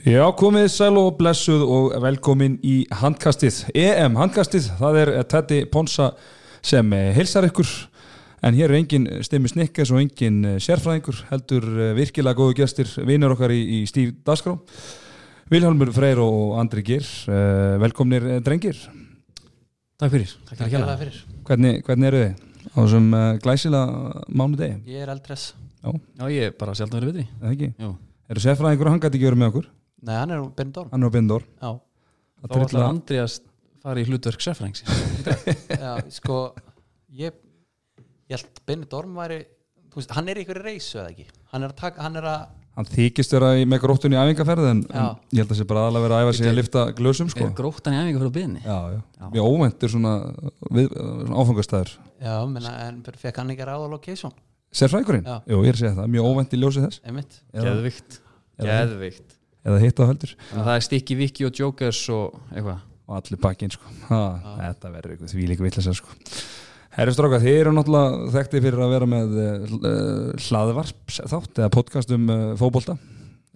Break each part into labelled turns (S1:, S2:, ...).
S1: Já, komið sæl og blessuð og velkomin í handkastið, EM handkastið, það er Teddy Ponsa sem eh, heilsar ykkur en hér er engin Stimmi Snikkes og engin eh, sérfræðingur, heldur eh, virkilega góðu gestir, vinur okkar í, í Stíf Dasgrá, Vilhelmur Freyr og Andri Gýr, velkomnir eh, drengir,
S2: Takk fyrir Takk
S3: Takk hérlega fyrir.
S1: hvernig, hvernig eru þið á þessum eh, glæsilega mánudegi,
S3: Ég er eldres.
S2: Já, ég er bara sjaldan verið vitri
S1: eða ekki?
S2: Jú.
S1: Eru sérfræðingur og hann gæti ekki verið með okkur,
S3: Nei, hann er úr Benidorm.
S1: hann er á Bindor,
S3: Já,
S2: Þá ætlar Andri að fara í hlutverk sérfræðings
S3: já, sko, ég, ég held Benidorm væri, þú veist, hann er í einhverju reysu eða ekki. Hann er að taka, hann er að,
S1: Hann þykist vera í- með gróttun í æfingarferð en, en
S3: Já.
S1: ég held að sé bara aðalega vera að æfa sig að lifta glösum sko.
S2: Er gróttan í æfingu fyrir byðinni?
S1: Já, já. Mjög óvendur svona, við, svona áfangastæður.
S3: já, menna, en fekk hann ekki ráð á location,
S1: Sérfræðingurinn?
S3: Já.
S1: Jú, ég er að segja það. Mjög óvend í ljósið þess.
S3: einmitt.
S1: Eða,
S2: Geðvikt Geðvikt
S1: eða hitt á heldur.
S2: Það er stikki viki og jokers og eitthvað
S1: Og allir bakkinn sko. Ha, þetta verður eitthvað því líka vitlega sér sko. Herri stráka, þið eru náttúrulega þekktið fyrir að vera með uh, hlaðvarp þátt eða podcast um uh, fótbolta.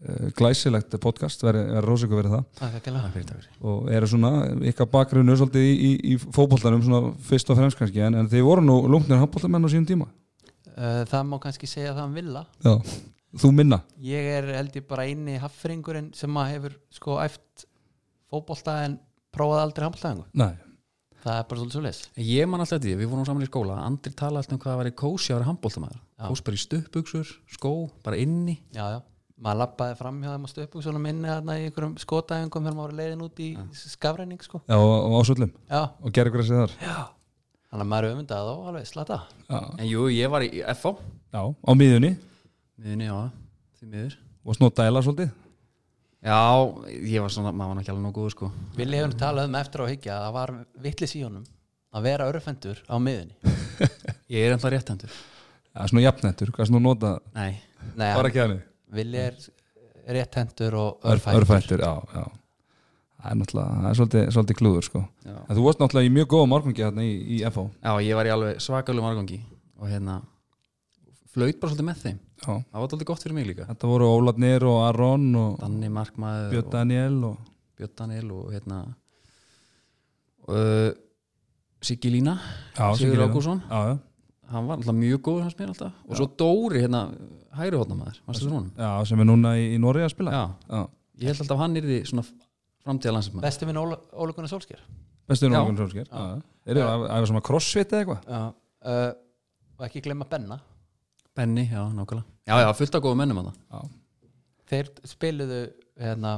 S1: Uh, glæsilegt podcast, verður rosa ykkur verið það.
S3: Það fekk hérlega.
S2: fyrir, takk fyrir
S1: og eru svona ykkar bakgrunnu svolítið í, í, í fótboltanum svona fyrst og fremst kannski en, en þeir voru nú lungnir handboltamenn á sínum tíma
S3: Uh, það má kannski segja það um Villa.
S1: Já. þú minna
S3: Ég er held ég bara eini haffringurinn sem að hefur sko æft fótbolta en prófaði aldrei handboltaðingu.
S1: Nei.
S3: Það er bara svolítið svo leys.
S2: Ég man alltaf eftir því, við vorum saman í skóla Andri tala alltaf um hvað að vera kósi að vera handbóltamæður
S3: Já.
S2: Kós bara í stöpbuksur, skó, bara inni
S3: Já, já. Maður lappaði fram hjá þeim á stöpugsunum inni þarna í einhverjum skotæðingum þegar maður var leiðin út í skafræning sko.
S1: Já, og, og ásöllum
S3: Já,
S1: og gerði ykkur að segja þar
S3: Þannig að maður er öfundað og alveg slata
S1: Já.
S2: En jú, ég var í FO
S1: Já, á miðjunni
S2: Miðinni, já, því miður
S1: og snótt dæla svolítið
S2: Já, ég var svona, maður var ekki alveg nóg góð sko
S3: Vili hefur talað um eftir á higgja að það var vittlis í honum að vera örfendur á miðunni
S2: Ég er ennþá réttendur
S1: Já, svona jafnettur, hvað svona nota
S2: Nei,
S3: Nei,
S1: var ekki hann
S3: Vili er rétthendur og örfættur
S1: Örfættur, já, já Það er náttúrulega, það er svolítið, svolítið klúður sko
S2: Já.
S1: En þú varst náttúrulega í mjög góða morgungi hérna í, í FH
S2: Já, ég var í alveg svakalum argangi og hérna flaut bara svolítið með þeim
S1: Já.
S2: það var svolítið gott fyrir mig líka
S1: Þetta voru Óladnir og Aron og
S2: Danni Markmaður
S1: Björn Daniel og
S2: og Björn Daniel og hérna uh, Siggi Lína
S1: Já,
S2: Sigur
S1: Sigurður.
S2: Ágússon.
S1: Já, já
S2: hann var alltaf mjög góður hans mér alltaf og svo Dóri hérna hægri hótnamaður varstu þér honum?
S1: Já, sem er núna í, í Noregi að spila
S2: Já,
S1: Já.
S2: ég held alltaf hann yrði svona framtíða landsmaður
S3: Besti minn Ólugunar Solskjær
S1: Bestu
S2: Já.
S1: Noregi Solskjær Já, já. Eru það að æfa svona crossfit eða eitthvað?
S3: uh, og ekki glemma Benna
S2: Benni, já, nákvæmlega Já, já, fullt af góðum mennum hann
S3: Þeir spiluðu hérna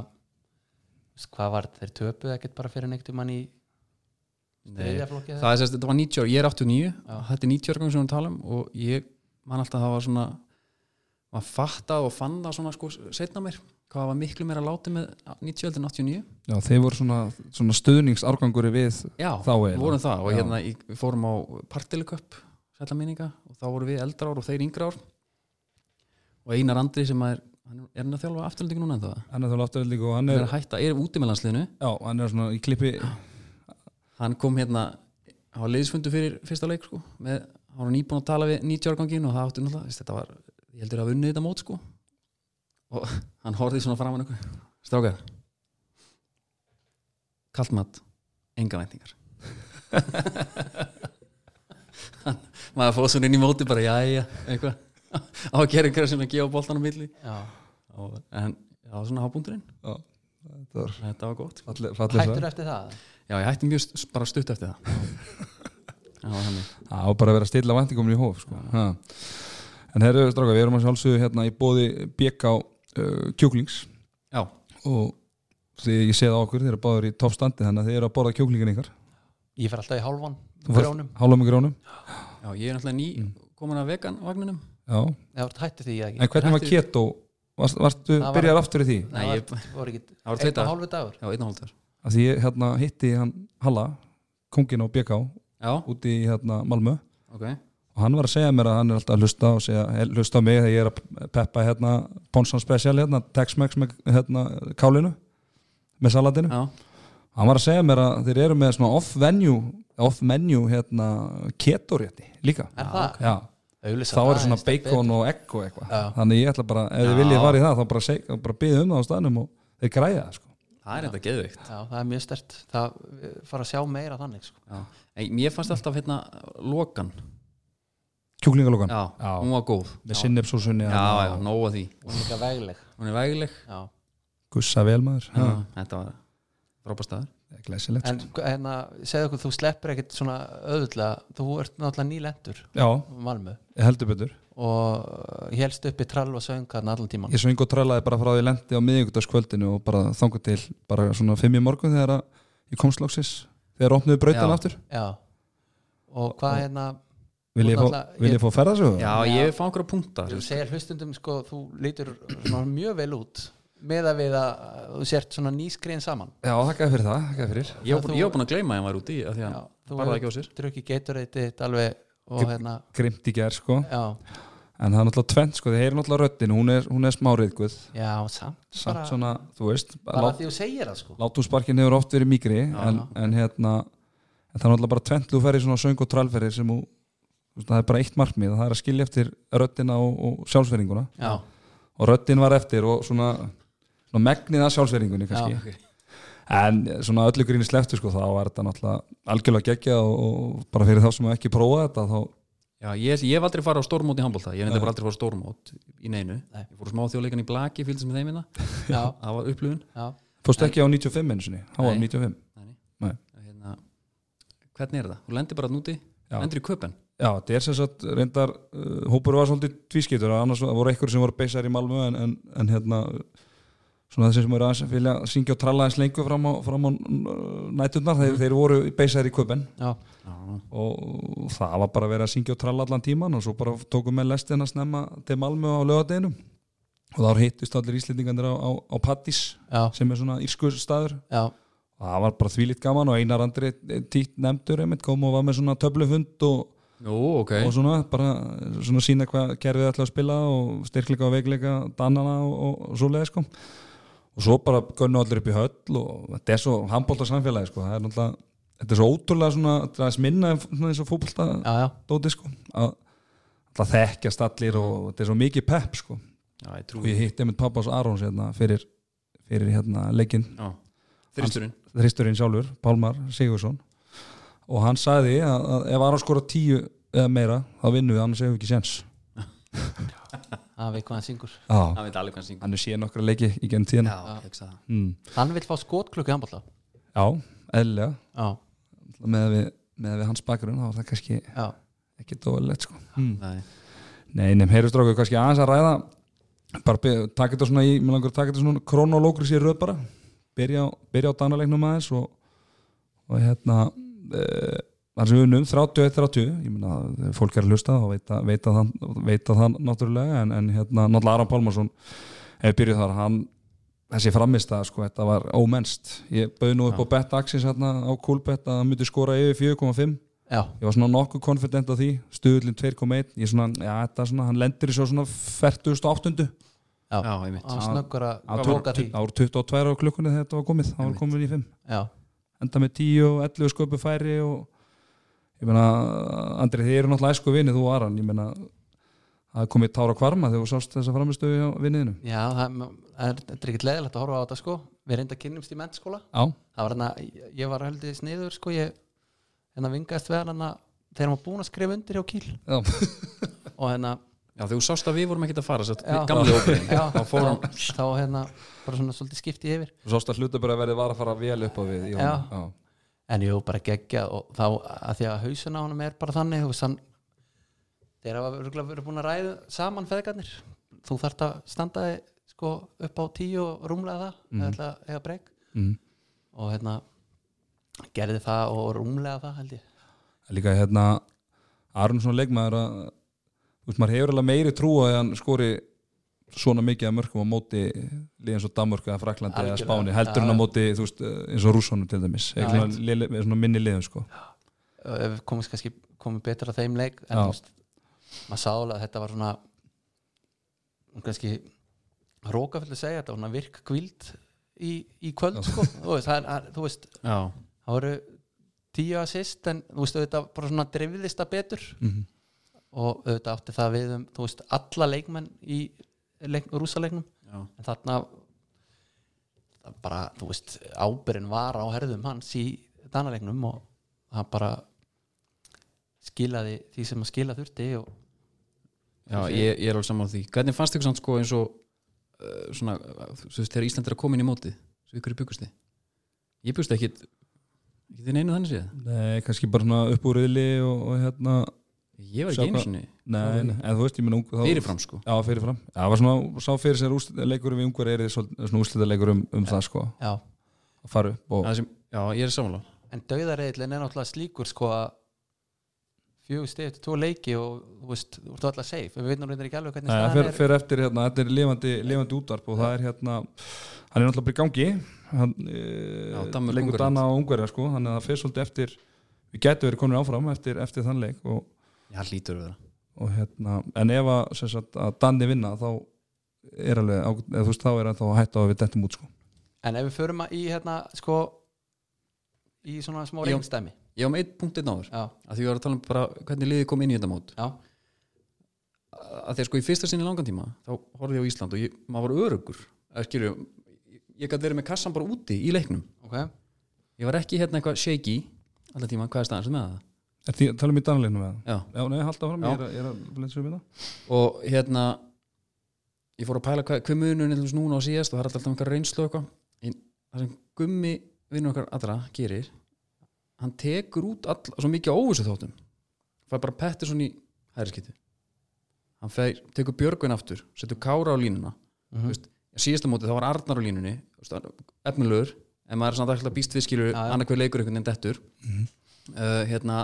S3: veist hvað var þetta, þeir töpuðu ekkert bara fyrir neitt um hann í
S2: Nei,
S3: þriðjaflokki
S2: það er sérst, þetta var 90 ára, ég er 89 þetta er 90 ára gangi sem við talum og ég man alltaf að það var svona maður fattað og fann það svona sko setna mér, hvað það var miklu meira látið með 90 ára en 89
S1: Já, þeir voru svona, svona stuðningsárgangur við
S2: Já,
S1: Þá eiginlega.
S2: við vorum það og
S1: Já.
S2: hérna í, við fórum á partiluköpp sætla minninga og þá vorum við eldra ár og þeir yngra ár og Einar Andri sem er, hann er hann að þjálfa afturlendingu núna en það
S1: Hann er þá láttur líka og hann
S2: hann
S1: er,
S2: er að hætta, er úti með landsliðinu
S1: já, hann er svona í klippi
S2: hann kom hérna hann var leiðisfundu fyrir fyrsta leik sko, með, hann var nýbúin að tala við 90 árgangin og það átti náttúrulega, veist, þetta var ég heldur að hafa unnið þetta mót sko og hann horfði svona framan ykkur strákar kalt mat, enga væntingar hann, maður fóð svona inn í móti bara jæja, eitthvað á að gera einhverja sem að gefa boltan á milli og, en það var svona hábúndurinn
S1: Já, þetta var
S2: þetta var gott
S1: falleg- falleg saga.
S3: Hættur eftir það
S2: já, ég hætti mjög st bara stutt eftir það það var þannig
S1: Já, og bara að vera að stilla væntingum í hóf sko. Ha. En herru, stráka, við erum að sjálfsögðu hérna í bóði BK uh, kjúklings
S2: Já,
S1: og því ég sé það á okkur, þeir eru báður í toppstandi þannig að þeir eru að borða kjúklingin ykkar
S3: Ég fer alltaf í hálfan
S1: Þú fórst-
S3: grónum
S1: Hálfum í grónum
S2: já ég er náttúrulega ný komin að vegan vagninum
S1: Já, en
S3: Það var hættu því eða ekki
S1: hvernig var
S2: Þetta
S1: keto? Varst, varstu,
S3: Það var-
S1: byrjar aftur í því?
S2: Nei,
S3: Það
S2: ég-
S3: var- voru ekki
S2: Það voru tveir
S3: einn og
S2: dagar.
S3: hálfu dagur
S2: Já, einn og hálftur
S1: að því ég hérna hitti hann Halla, kongin á BK
S2: Já,
S1: úti í hérna Malmö
S2: ok
S1: og hann var að segja mér að hann er alltaf að hlusta og segja, "Hey, hlusta á mig þegar ég er að peppa hérna Ponsan Special hérna, Tex-Mex með hérna kálinu með salatinu
S2: Já,
S1: hann var að segja mér að þeir eru með svona off-venue off-menu hérna keto-rétti líka
S3: Er það?
S1: Já,
S3: Auðlýsa
S1: þá
S3: það
S1: er svona
S3: í stað
S1: bacon og egg og eitthvað
S3: Já.
S1: þannig ég ætla bara, ef þið viljið fara í það þá bara, seg, bara byggja um það á staðnum og þeir græða það, sko.
S2: það er þetta geðveikt
S3: Já, það er mjög stert það eh, fara að sjá meira þannig sko.
S2: en mér fannst alltaf hérna lokan
S1: kjúklingalokan
S2: já,
S1: Já.
S2: hún var góð
S1: með sinnepsósunni
S2: já, já, nóga því
S3: og líka vegleg
S2: hún er vægileg
S3: já.
S1: gussa vel maður
S2: já.
S1: já.
S2: þetta var frábært staður
S1: glæsilegt sko.
S3: en hérna, segðu okkur, þú sleppir ekkit svona öðvöldlega, þú ert náttúrulega nýlendur
S1: já,
S3: Malmö
S1: heldur betur
S3: og hélst upp í trall og söng hann allan tíman
S1: ég svöng og trallaði bara frá því ég lendi á miðjögutaskvöldinu og bara þangu til bara svona fimm í morgun þegar að ég komst loksis þegar opnuðu brautan
S2: Já.
S1: aftur
S3: já og hvað hérna,
S1: vil ég
S3: Þú
S1: fá,
S3: náttúrulega-
S1: vil
S3: ég-
S1: ég fá ferðasögu
S2: já, ég fá einhverja punkta
S3: þú segir hlustundum sko, þú lítur svona mjög vel út með að við að þú sért svona nýskriðin saman
S1: já þakkaði fyrir það, þakkaði fyrir
S2: ég var búin- ég var búin að gleyma að hann var úti af því að
S3: Já,
S2: hann
S3: þú
S2: barði
S3: hefur-
S2: ekki á sér
S3: drukki geturreiti alveg og
S1: Gib-
S3: hérna
S1: grimt í gerð sko
S3: já,
S1: en það er náttúrulega tvent sko, þið heyrir náttúrulega röddin hún er, hún er smá reyðguð
S3: já, samt,
S1: samt
S3: bara,
S1: svona, þú veist
S3: bara
S1: lát,
S3: því þú segir það sko
S1: látúsparkin hefur oft verið mikri en, en hérna en það er náttúrulega bara tvent þú ferðir svona söng og trallferðir sem þú, þú veist, það er bara eitt markmið það er að skilja eftir röddina og, og sjálfsverðinguna
S3: já,
S1: og röddin var eftir og svona, svona megnið að sjálfsverðingunni
S3: já,
S1: kannski en svona öllu gríni sleftu sko þá var þetta náttúrulega algjörlega geggja og, og bara fyrir þá sem hafa ekki prófað þetta þá
S2: Já, ég, ég hef aldrei farið á stórmót í handbólta ég hef enda bara aldrei farið á stórmót í neinu
S3: Nei.
S2: ég fór á smá þjóðleikan í blaki, fylgst með þeimina
S3: já,
S2: það var upplifun
S3: já.
S1: fórstu ekki á 95 einu sinni, hann var
S3: Nei.
S1: 95
S2: hérna, hvernig er það? Þú lendir bara núti,
S1: Já.
S2: lendir í köpen
S1: Já, þetta er sem sagt reyndar uh, hópur var svolítið tvískiptur annars voru einhverjum sem voru beisar í Malmö en, en, en hérna svona þessi sem voru aðeins að vilja syngja og tralla aðeins lengur fram á, fram á uh, næturnar þeir, þeir voru beisar í köpen
S3: já.
S1: og það var bara að vera að syngja og tralla allan tíman og svo bara tókum með lestina snemma til Malmö á lögadeginum og þá hittist allir íslendingandir á, á, á Pattís
S3: já,
S1: sem er svona írskur staður
S3: já,
S1: og það var bara þvílitt gaman og Einar Andri eh, títt nefndur einmitt kom og var með svona töflufund og
S2: Nú, ok
S1: og svona bara svona sína hvað kerfið ætla að spila og styrkleika og veikleika dannana og, og, og svoleiði sko og svo bara gönnu allir upp í höll og þetta er svo handbólta samfélagi sko það er náttúrulega, þetta er svo ótrúlega svona þetta er aðeins minna en svona eins og fótbolta
S3: já, já.
S1: dóti sko að það þekkjast allir og þetta er svo mikið pepp sko
S2: Já, ég
S1: og
S2: trúi
S1: ég hitti einmitt pappans Arons hérna fyrir, fyrir hérna leikinn
S2: Já. Þristurinn
S1: þristurinn sjálfur, Pálmar Sigursson og hann sagði að, að ef Aron skora tíu eða meira þá vinnum við, annars hefur við ekki sens
S3: hann veit hvað hann syngur
S1: Já,
S2: Það veit alveg hvað hann syngur
S1: hann er síðan nokkra leiki í genn tíðan Já,
S2: Já, ég hugsa það
S1: mm.
S3: hann vil fá skotklukku handbólla
S1: Já eðlilega
S3: já,
S1: með að við, með að við hans bakgrunn þá er það kannski
S3: já,
S1: ekki dóðilegt sko mm.
S2: Nei.
S1: Nei, nefn heyrustráku, kannski aðeins að ræða bara be- taka þetta svona í, mér langar að taka þetta svona kronolókur sér röð bara byrja, á- byrja á danaleiknum aðeins og, og hérna eh, þar sem við unum 31-30 ég meina, ef fólk er að hlusta og veita, veita, þann, veita þann náttúrulega en, en hérna, náttúrulega Aron Pálmarsson hefur byrjuð þar, hann þessi framist að sko, þetta var ómennst ég bauði nú upp á betta axis hérna á kúlbett að hann myndi skora yfir 4,5
S3: já,
S1: ég var svona nokkuð konfident á því stuðullin 2.1, ég svona, já þetta er svona hann lendir í svo svona 48.
S3: já,
S2: Já, ég mitt
S3: hann snöggur að
S1: Á
S3: bóka því
S1: 20 á 22 á klukkunni þegar þetta var komið það var komin í 5,
S3: já,
S1: enda með 10 og 11 sköpu færi og ég meina, Andri þið eru náttúrulega æsku vinni þú og Aran, ég meina það er komið tára kvarma þegar þú sást þessa framistöðu hjá vinniðinu,
S3: já, það það er þetta er ekkert leðilegt að horfa á þetta sko við reynda að kynnumst í mennskóla
S1: já,
S3: það var hérna, ég- ég var heldur sniður sko, ég hérna vingaðist við hérna þegar hann var búin að skrifa undir hjá kýl
S1: já
S3: og hérna,
S2: Já, þegar þú sást að við vorum ekkert að fara Sett
S3: Já.
S2: gamli óperinn
S3: já,
S2: Þá fór hann
S3: þá, þá hérna bara svona svolítið skipti yfir
S1: þú sást að hluta bara að verði var að fara vel upp á við í honum.
S3: Já.
S1: Já.
S3: en jú, bara geggja og þá að því að hausun á honum er bara þannig þú veist hann þeir hafa örugglega verið búin að ræða saman feðgarnir þú þarft að standa þig, sko, upp á tíu og rúmlega það
S2: Mhm.
S3: mm. eða, eða breg
S1: Mm.
S3: og hérna gerði það og rúmlega það held ég
S1: líka hérna Aron svona leikmaður að þú veist, maður hefur alveg meiri trú á að hann skori svona mikið að mörgum á móti liði eins og Danmörku eða Fraklandi eða
S3: Algjörlega.
S1: Spáni heldur hann á móti þú veist, eins og Rússonum til dæmis
S3: Já,
S1: ja, svona, lili, svona minni liðum sko
S3: Ö, ef komist kannski komið betra að þeim leik en
S1: Já.
S3: þú veist, maður sá alveg að þetta var svona kannski rókafell að segja þetta var svona virk kvíld í, í kvöld sko, þú veist, það, er- þú veist
S2: Já,
S3: það voru tíu assist en þú veist auðvitað bara svona drifðist það betur
S1: Mhm.
S3: og auðvitað átti það við um þú veist alla leikmenn í leik, rúsaleiknum
S2: já
S3: en þarna það bara, þú veist, ábyrinn var á herðum hans í danalegnum og hann bara skilaði því sem að skila þurfti og
S2: Já, ég, ég er alveg saman á því Hvernig fannst ykkur samt sko eins og uh, svona, uh, þú veist, þegar Ísland er að koma inn í mótið svo ykkur byggust þið Ég byggust ekki ekki þið neinu þannig séð
S1: Nei, kannski bara svona upp úr riðli og, og hérna
S2: Ég var
S1: Sjá
S2: ekki einu
S1: hvað-
S2: sinni
S1: Nei, nei, en þú veist, ég menn ungu
S2: fyrirfram sko
S1: Já, fyrirfram Já, það var svona, sá fyrir sér úrslitaleikur við ungar eirið svona úrslitaleikur um, um það sko
S3: já,
S1: að fara upp og
S2: Það sem, Já, ég er samanlega
S3: en dauðareðlin er náttúrulega slíkur sko að fjögur stið eftir tvo leiki og þú veist, þú ert alltaf safe við veitum reyndar ekki alveg hvernig
S1: það
S3: staðan
S1: fer, fer eftir hérna, þetta er lifandi, lifandi útvarp og það er hérna, hann er náttúrulega bara í gangi hann
S2: Já,
S1: eh,
S2: Danmörk,
S1: leikur
S2: Ungverjar.
S1: Dana og Ungverja sko, þannig að það fer svolítið eftir við gætu verið konur áfram eftir, eftir þann leik og,
S2: Já, hlýtur við það
S1: og hérna, en ef að, sem sagt, að Danni vinna þá er alveg, ágæt- eða þú veist, þá er hann þá að hætta á að við dettum út sko
S3: en ef við förum að í hérna sko í svona smá
S2: Já.
S3: reynstæmi
S2: Ég var með eitt punkt einn áður
S3: já,
S2: að því ég var að tala um bara hvernig liðið kom inn í þetta mót
S3: já,
S2: að því að sko í fyrsta sinni langan tíma þá horfði ég á Ísland og ég, maður var örugur að skilju, ég, ég gæti verið með kassan bara úti í leiknum
S3: ok
S2: ég var ekki hérna eitthvað shaky allan tíma, hvað er staðan sem með það?
S1: Er því, talum við Danleinu með það?
S2: Já.
S1: Já, nei, halda fram,
S2: Já.
S1: ég er að, ég er að lensa um þetta
S2: og hérna ég fór að pæla hvað, hver munur nefnilegs núna á síðast og það er alltaf einhver reynslu og eitthvað En það sem gummi vinnur okkar allra gerir hann tekur út all, svo mikið óvissu þóttum fær bara pettir svona í hæðiskeitu hann fer, tekur Björgvin aftur setur Kára á línuna mm
S3: Mhm.
S2: veist, síðasta mótið þá var Arnar á línunni þú veist, hann- efnilegur, en maður er samt alltaf býst við skilur
S3: Já, já.
S2: annað hver leikur einhvern veginn dettur uh, hérna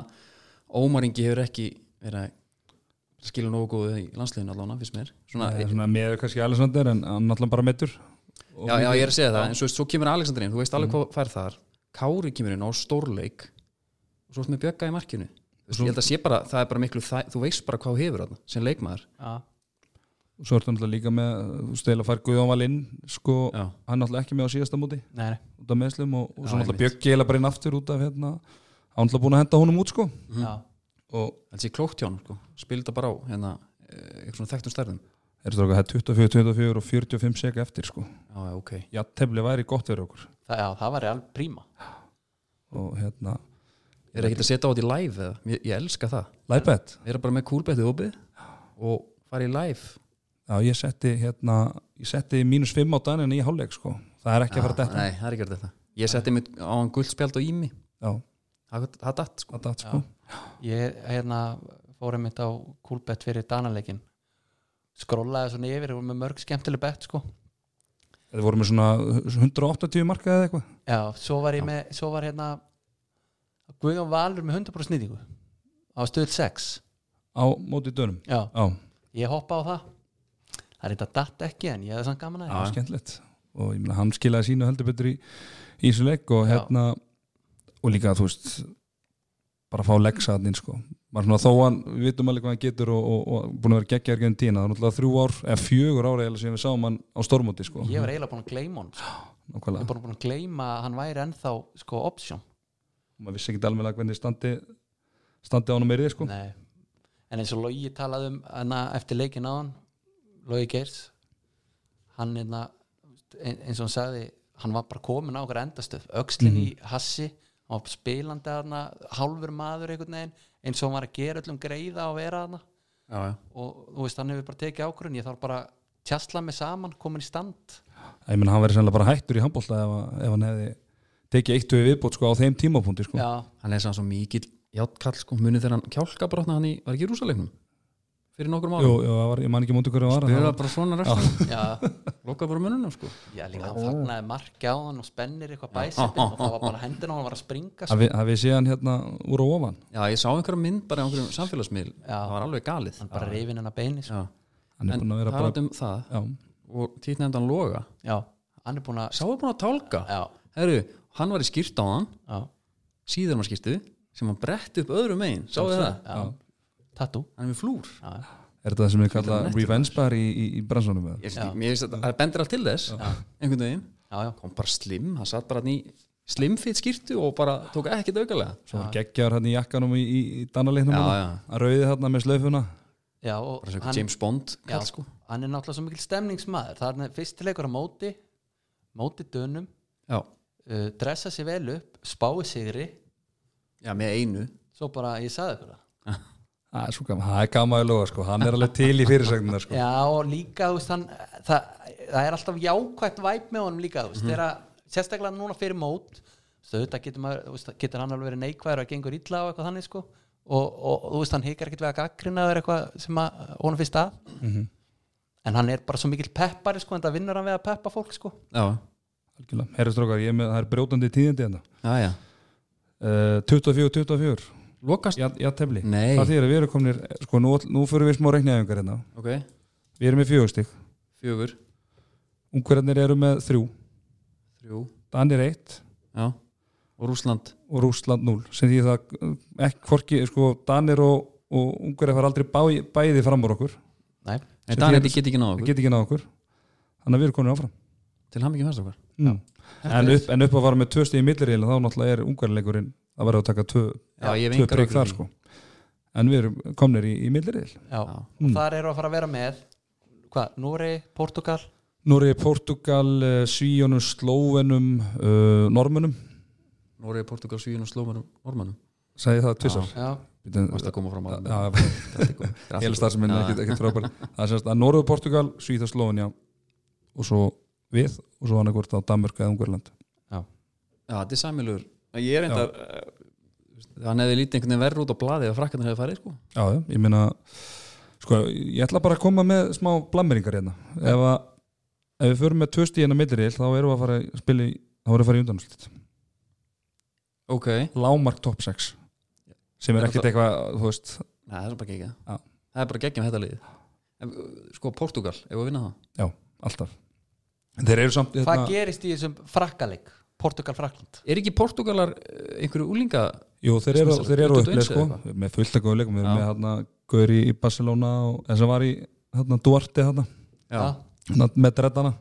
S2: Ómar Ingi hefur ekki verið að skilur nógu góðu í landsliðinu allána, finnst mér svona,
S1: Nei, Svona með kannski Alessander en hann náttúrulega bara meittur
S2: já, já, ég er að segja það, en svo, svo kemur Alexander inn, þú veist alveg hvað fær þar Kári kemur inn á stórleik og svo ertu með Bjögga í markinu Þú veist,
S1: Svo-
S2: ég held að sé bara, það er bara miklu þæ, þú veist bara hvað þú hefur þarna, sem leikmaður
S3: já,
S1: og svo ertu náttúrulega líka með þú stela að fara Guðjónval inn sko,
S2: já,
S1: hann náttúrulega ekki með á síðasta móti
S3: nei, nei,
S1: út af meðslum og, og
S2: Já,
S1: svo náttúrulega
S2: einmitt.
S1: Björk geila bara inn aftur út af hérna hann náttúrulega búin að henda honum út sko
S3: já
S1: og
S2: það sé klókt hjá hann, sko. spila þetta bara á hérna, eh, eitthvað svona þekktum stærðum
S1: er þetta okkar, það er 24, 24 og 45 sek eftir sko,
S2: já, já, ok,
S1: já, tefli væri gott fyrir okkur
S3: það, já, það var alveg príma
S1: og hérna,
S2: er ekki að setja á þetta í live eða? ég, ég elska það,
S1: læpett
S2: við erum bara með kúlbettið opið og fara í live
S1: já, ég setti hérna, ég setti mínus 5 á dan en í hálfleik sko, það er ekki að fara að
S2: Ah,
S1: detta
S2: nei, það er ekki að þetta ég setti mig á hann guldspjald og ími
S1: já,
S2: það það datt, sko
S1: það datt sko
S3: ég hérna fór einmitt á kúlbett fyrir danaleikin skrollaði svona yfir og var með mörg skemmtileg bett sko
S1: það voru með svona 180 marka eða eitthvað
S3: já, svo var ég með svo var hérna Guðjón Valur með 100% snýtingu á stöð 6
S1: á móti dönum,
S3: já,
S1: já,
S3: ég hoppa á það það er þetta datt ekki en ég hefði samt gaman að
S1: það var skemmtilegt og ég meina hann skilaði sínu heldur betur í, í þessu leik og
S3: Já.
S1: hérna og líka þú veist bara fá leggsaðnin sko maður svona þó hann, við vitum alveg hvað hann getur og, og, og búin að vera geggjaður gegn tína það er náttúrulega þrjú ár, eða fjögur ár eða sem við sáum hann á stormóti sko
S3: ég var eiginlega búin að gleyma hann sko. ég
S1: nákvæmlega,
S3: var bara búin að gleyma að hann væri ennþá sko option
S1: maður vissi ekki alveg hvernig standi standi á hann meirið sko
S3: Nei. en eins og Logi talaði um hana, eftir leikin á hann Logi Geirs hann hérna, ein- eins og hann sagði hann var bara komin á okkur endastöð öxlin í hassi, hann var spilandi hana, hálfur maður einhvern veginn eins og hann var að gera öllum greiða og vera hana
S2: já, já.
S3: og þú veist, hann hefur bara tekið ákvörðin ég þarf bara að tjastla mig saman, komin í stand
S1: ég meina hann verið sennilega bara hættur í handbólta ef, að- ef hann hefði tekið eitt við viðbót sko á þeim tímapunkti sko
S3: já,
S2: hann er sann svo mikill játtkall sko, munið þegar hann kjálka brotna hann í, var ekki í rúsalegnum fyrir nokkur
S1: jú,
S2: mánu,
S1: jú, það var, ég man ekki mútið hverju var en það
S2: spila
S1: var-
S2: bara svona restur
S3: já
S2: loka bara mununum sko
S3: Já, líka hann fagnaði marki á hann og spennir eitthvað bæsipin og það var bara hendina á hann var að springa sko.
S1: að við- að við séð hann hérna úr og ofan
S2: já, ég sá einhverja mynd bara á einhverjum samfélagsmiðl
S3: Já.
S2: það var alveg galið
S3: hann bara reyfin hennar beini sko.
S2: já.
S1: hann er
S2: en
S1: búin að vera bara
S2: talaðum um það
S1: já,
S2: og títt nefndan loga
S3: já, hann er búin að
S2: sá er búin að tálka
S3: já,
S2: Heru, hann var í skýrt á hann,
S3: já,
S2: síðar maður skýrtu sem hann brett upp öðrum megin, sáu þið það
S3: já. tattoo
S2: hann er með flúr
S3: já,
S1: er þetta það sem við kalla revenge bar í, í, í bransanum eða?
S2: ég, skil- mér finnst að það bendir allt til þess einhvern veginn,
S3: já, já,
S2: kom bara slim hann satt bara hann í slimfitt skýrtu og bara tók ekkert aukalega
S1: svo var geggjar hann í jakkanum í, í, í danaleiknum
S2: Já,
S1: hann,
S2: já.
S1: hann rauði þarna með slöfuna
S3: já og
S2: bara sem
S3: hann,
S2: James Bond
S3: já,
S2: kall, sko.
S3: hann er náttúrulega svo mikil stemningsmaður það er fyrstileikur á móti móti dönum
S2: já,
S3: uh, dressa sér vel upp, spái sigri
S2: já með einu
S3: svo bara ég sagði ykkur það
S1: Það er svo gaman, það er gaman að lofa sko, hann er alveg til í fyrirsagnar sko.
S3: já og líka þú veist hann það, það er alltaf jákvætt væp með honum líka þú veist þegar að, sérstaklega núna fyrir mót þú veist það getur, maður, þú veist, getur hann alveg verið neikvæður að gengur illa og eitthvað þannig sko og, og þú veist hann hikar ekkert við að gaggrina eða eitthvað sem að honum finnst að
S1: Mhm.
S3: en hann er bara svo mikill peppari sko en það vinnur hann við að peppa fólk sko
S2: já,
S1: Algjörlega, herri strókar, ég er með, það er brjótandi tíðindi hérna
S2: já, já,
S1: uh, 24-24,
S2: lokast
S1: já, já tefli
S2: Nei.
S1: Það þýðir að við erum komnir, sko, nú, nú fyrir við smá reikniðæfingar hérna
S2: ok,
S1: Við erum með fjögustig,
S2: fjögur,
S1: ungverðarnir eru með þrjú
S2: þrjú
S1: Danir eitt
S2: já, og Rúsland
S1: og Rúsland 0 sem því það eh, ekki hvorki, sko, Danir og, og Ungverið fara aldrei bæ, bæði fram úr okkur
S3: Nei.
S1: Sem
S2: en Danir
S1: þýðir-
S2: get ekki náða
S1: það
S2: okkur
S1: geti ekki náð okkur þannig að við erum komin áfram
S2: til hann ekki fannst okkar
S1: mm. en, upp, en upp að fara með tvö stíð í milliríðin þá náttúrulega er Ungverðarleikurinn að vera að taka tvö,
S2: Já, ég hef
S1: tvö
S2: engar
S1: breyk
S2: reglur
S1: þar
S2: í.
S1: sko. en við erum komnir í, í milliríðil
S3: já. Mm. og þar eru að fara að vera með hvað, Núri, Portugal
S1: Núri, Portugal, Svíjónum, Slóvenum uh, Normunum
S2: Noregi, Portugal, Svíun og Slómanum, Ormanum
S1: sagði ég það tvissar
S3: já,
S2: varst að koma fram að
S1: heila starfseminn ekkert, ekkert frábær það er semst að Norður, Portugal, Svíða, Slóvenja og svo við og svo annað hvort á Danmörk eða Ungverland
S2: Já, þetta er samilur Ég er reyndar eh, Hann hefði lítið einhvern veginn verður út á blaði eða frakkarnir hefði farið sko
S1: Já, já, ég meina sko, ég ætla bara að koma með smá blammeringar hérna ef, að, ef við förum með tvö stíðina milliril þá erum við að fara að spila í, þá erum við að fara í undanúslit
S2: Ok
S1: Lámark top 6 sem er
S2: Já,
S1: ekkert eitthvað, þú veist
S2: Nei, það er bara geggjað
S1: Já.
S2: Það er bara geggjað með þetta liðið En, eh, Sko, Portugal, ef við vinna það
S1: já, alltaf En þeir eru samt hérna-
S3: hvað gerist í þessum frakkaleik Portugal, Frakland
S2: Er ekki Portugalar eh, einhverju úlinga
S1: jú, þeir eru,
S2: Sem sagt,
S1: þeir eru
S2: 21
S1: upplega sko,
S2: eða
S1: með fullt að góðleikum við erum
S2: Já.
S1: með hérna Gauri í Barcelona og þess að var í hérna Duarte hérna,
S2: Já,
S1: hérna með dreddana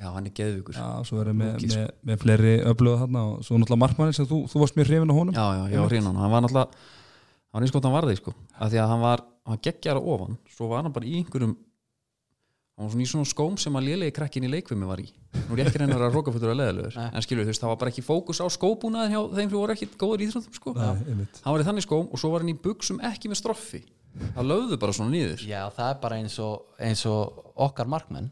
S2: já hann er geðvíkur Já,
S1: já, sko. svo verðum við með,
S2: Lúkis.
S1: með, með fleiri öflöðu hérna og svo náttúrulega markmannin sem þú, þú varst mér hrifin á honum
S2: já, já, hrein hann Hann var náttúrulega Hann var eins og hann varði sko Af því að hann var Hann geggjar á ofan Svo var hann bara í einhverjum Hann var svona í svona skóm sem að lélegi krakkin í leikvimi var í Nú er ég ekki reynar að róka fyrir að leðilegur
S3: Nei.
S2: En skilur þú veist, það var bara ekki fókus á skóbúnaðin hjá þeim fyrir voru ekki góður íþróttum sko
S1: Nei, einmitt.
S2: hann var í þannig skóm og svo var hann í buksum ekki með stroffi það lögðu bara svona nýður
S3: já, það er bara eins og, eins og okkar markmenn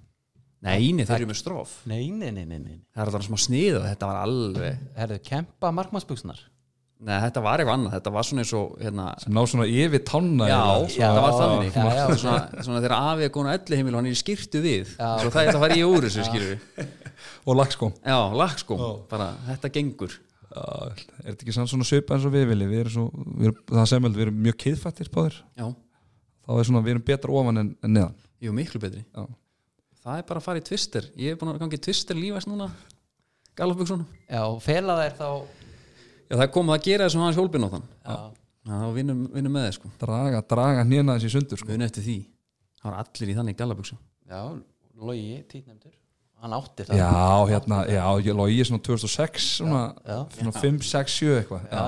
S2: neini, þeir eru með stroff
S3: nei, nei, nei, nei, nei, nei.
S2: það er alltaf smá sniða, þetta var alveg
S3: herðu, kempa markmannsbuxnar
S2: nei, þetta var eitthvað annað, þetta var svona eins og hérna,
S1: sem ná svona yfir tanna
S2: já,
S1: eiginlega.
S2: þetta var þannig
S3: já, já.
S2: svona, svona þegar afi er góna elli heimil og hann er í skirtu við svo það er það fari í úr þessu skilur við
S1: og sko. lagskom
S2: já, lagskóm, bara þetta gengur
S1: er þetta ekki sann svona svipa eins og við viljum við erum svo, við erum, það sem held, við erum mjög kiðfættir báðir,
S2: já,
S1: þá er svona við erum betra ofan en, en neðan
S2: jú, miklu betri
S1: Já.
S2: það er bara að fara í tvister, ég er búin að gangi tvister lífæst núna Gallup-buxunum.
S3: já, og fela þær þá
S2: já, það er komið að gera þessum hans hjólpinn á þann
S3: já,
S2: þá vinnum, vinnum með þeir sko
S1: draga, draga hnina þessi sundur sko.
S2: muni eftir því það var allir í þannig gallaböksum
S3: já logi, títnefndur hann átti það
S1: já, hérna, já, ég logi svona 2006 svona,
S3: já,
S1: svona 5, 6, 7 eitthvað
S3: já,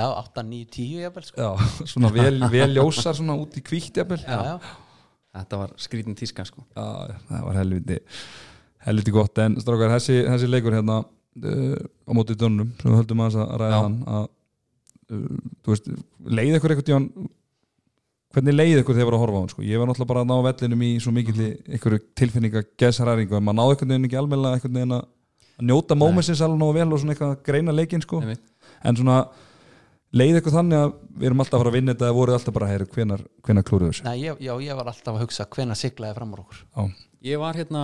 S3: já 8, 9, 10 jafnvel, sko.
S1: Já, svona vel, vel ljósar svona út í kvíkt jafnvel
S3: já, já,
S2: þetta var skrítin tíska sko
S1: Já, það var helviti helviti gott, en strákar, þessi, þessi leikur hérna uh, á móti dönnum sem við höldum aðeins að ræða
S2: Já.
S1: hann að, uh, þú veist, leið ykkur eitthvað tíðan hvernig leið ykkur þegar voru að horfa á hann, sko, ég var náttúrulega bara að ná vellinum í svo mikill
S2: Mhm.
S1: ykkur tilfinninga gesræringu, en maður náði einhvern veginn ekki almennilega einhvern veginn að að njóta mómensins alveg nógu vel og svona eitthvað að greina leikinn, sko
S2: Einmitt.
S1: en svona leið ykkur þannig að við erum alltaf að fara að vinna þetta eða voruð alltaf bara, heyr, hvenar, hvenar klúruðu þessu
S3: Nei, ég, já, ég var alltaf að hugsa hvenær siglaði fram úr okkur
S1: Já,
S2: ég var hérna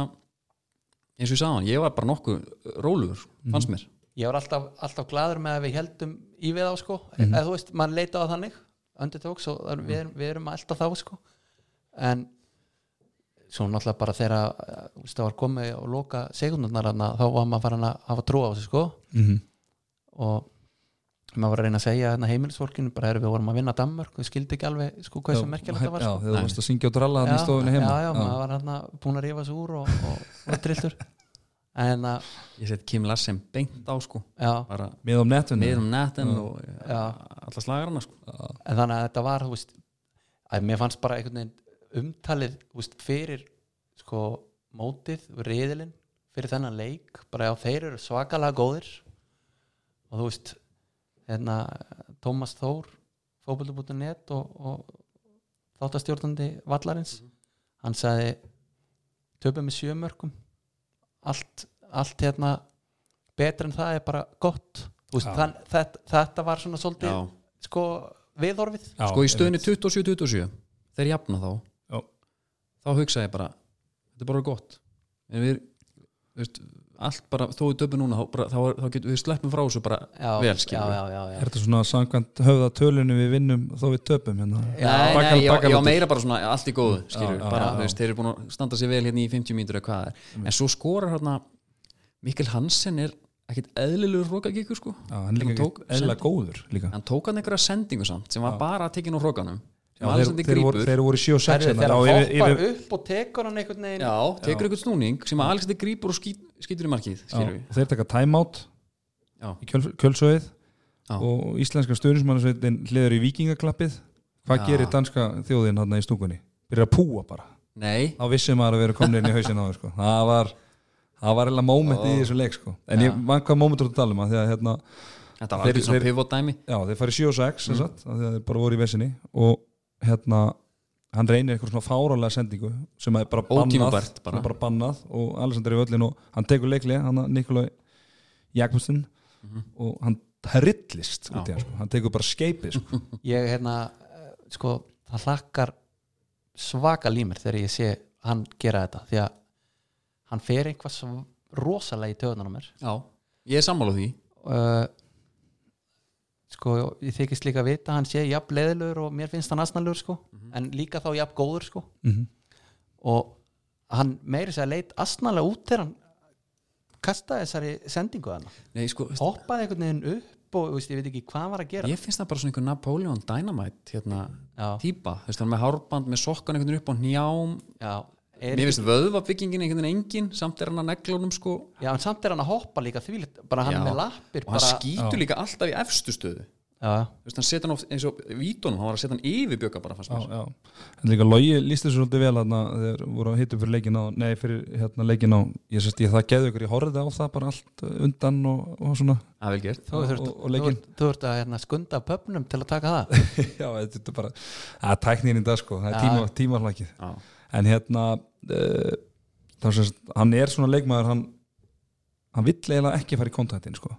S2: eins og ég sagði hann, ég var bara nokkuð rólugur
S3: Mhm.
S2: fannst mér
S3: ég var alltaf, alltaf gladur með að við heldum í við á sko,
S1: Mhm.
S3: eða þú veist, mann leita á þannig undertóks og mm við, erum- við erum alltaf þá sko en svo náttúrulega bara þegar eh, þú veist, það var komið og loka segundarnar hana, þá var maður farin að hafa trú á þessu sko
S1: mm
S2: Mhm.
S3: og maður var að reyna að segja hérna heimilisfólkinu bara erum við vorum að vinna Danmörk við skildi ekki alveg sko hvað sem merkilegt það var
S1: Já,
S3: sko.
S1: þegar þú varst að syngja og dralla hann í stofunni heima
S3: já, já, maður var hérna búin að rífa sig úr og, og, og trilltur en að,
S2: ég sett Kim Lassen beint á sko
S3: já,
S2: bara
S1: með um nettunni
S2: meður um netin og
S3: já
S2: alla slagarna sko
S3: en þannig að þetta var þú veist, að mér fannst bara einhvern veginn umtalið þú veist, fyrir sko, mótið, reyðilinn fyrir þennan leik bara já, þeir eru svakalega góðir og þú veist hérna, Tómas Þór fótbolti.net og, og þáttastjórnandi vallarins hann sagði töpum með sjö mörgum allt, allt hérna betra en það er bara gott Þú veist,
S1: Já.
S3: þann, þetta, þetta var svona svolítið
S2: Já.
S3: sko viðhorfið
S1: Já,
S2: sko í stöðinni
S1: einmitt.
S2: 27-27 þeir jafna þá
S1: Já.
S2: þá hugsa ég bara þetta er bara gott en við, þú veist, allt bara þó við döfum núna, þá, bara, þá, þá getum við sleppum frá þessu bara
S3: já,
S2: Vel, skilur
S3: já, já, já,
S1: Er þetta svona samkvæmt höfða tölunni við vinnum þó við töpum hérna?
S3: Já,
S2: nei,
S1: bakal-
S2: nei, já,
S1: bakal-
S2: já, meira bara svona allt í góðu skilur,
S1: Já, já,
S2: bara,
S1: já. Mm.
S2: þú veist, þeir eru búin að standa sér vel hérna í 50 mínútur eða hvað það er en svo skorar hérna Mikkel Hansen er ekkit eðlilegur rokakikur sko
S1: Já, hann er
S2: Hann
S1: líka
S2: tók
S1: eðla
S2: sendi-
S1: góður líka.
S2: hann tók hann einhverja sendingu samt sem var bara að tekja nú rokanum
S1: Já,
S2: sem
S1: þeir,
S2: Alexander
S1: þeir,
S2: grípur
S1: voru, þeir voru 7 og 6
S3: Herri, þegar hann hoppar upp og tekur hann einhvern veginn
S2: já, tekur einhvern snúning sem að Alexander grípur og skýt, skýtur í markið skilur við
S1: og þeir taka timeout
S2: Já.
S1: í kjöl, kjölsöðið
S2: Já.
S1: og íslenska stöðnismannsveitin hliður í vikingaklappið hvað
S2: Já.
S1: gerir danska þjóðin hann í stúkunni? Byrjar að púa bara
S2: Nei,
S1: þá vissi maður að vera komin inn í hausin á þau sko. það var það var eða moment í þessu leik sko. en ég man hvað moment þú ert að tala um að því að hérna,
S2: þetta var
S1: Þeir-
S2: alveg svona
S1: þeir-
S2: pivot dæmi
S1: já, þeir farið 7 og 6 mm. satt, að því að þeir bara voru í vesinni og hérna hann reynir eitthvað svona fáralega sendingu sem er bara bannað,
S2: Ótímabært bara.
S1: sem er bara bannað og Alessandri völlin og hann tekur leiklið hann að Nikolai Jakobsen
S2: Mhm.
S1: og hann rillist út í hann sko. hann tekur bara skeipið sko.
S3: ég hérna eh, sko það hlakkar svaka límir þegar ég sé hann gera þetta því að hann fer einhvað svo rosalega í töðunar á mér
S2: Já, ég er sammála því
S3: uh, sko ég þykist líka að vita að hann sé jafn leðilegur og mér finnst hann asnalegur sko en líka þá jafn góður sko
S1: Mhm.
S3: og hann meiri sér að leit asnalega út þegar hann kastaði þessari sendingu að hann
S2: Nei, sko, veist,
S3: hoppaði einhvern veginn upp og veist, ég veit ekki hvað hann var að gera
S2: ég finnst það bara svona einhver Napoleon Dynamite hérna,
S3: Já.
S2: típa, þú veist, hann er með hárband með sokkan einhvern veginn upp á hnjám
S3: já, er,
S2: Mér finnst vöðvabyggingin einhvern veginn engin samt er hann að neglunum sko
S3: já, en samt er hann að hoppa líka því bara hann
S2: Já.
S3: er með lappir
S2: og hann
S3: bara,
S2: skýtur líka alltaf í efstu stöðu
S3: já,
S2: Þú veist, hann setja hann oft eins og vítunum, hann var að setja hann yfir bjöka bara fannst
S1: já,
S2: mér
S1: já. en líka Logi líst þessu svolítið vel þarna, þeir voru að hitta fyrir leikin á nei, fyrir hérna leikin á ég sérst ég það geðu ykkur, ég horfði á það bara allt undan og, og svona
S2: Það er vel gert
S3: þú
S1: Og-
S3: þurft,
S1: og- og
S3: þú,
S1: leikinn.
S3: ert- þú ert að hérna, skunda pöpnum til að taka það
S1: já, þetta er bara að tæknin í dag sko, það er tíma, tímahlakið
S2: Já,
S1: en hérna uh, þá sést, hann er svona leikmaður hann, hann vill eiginlega ekki fara í kontaktin sko.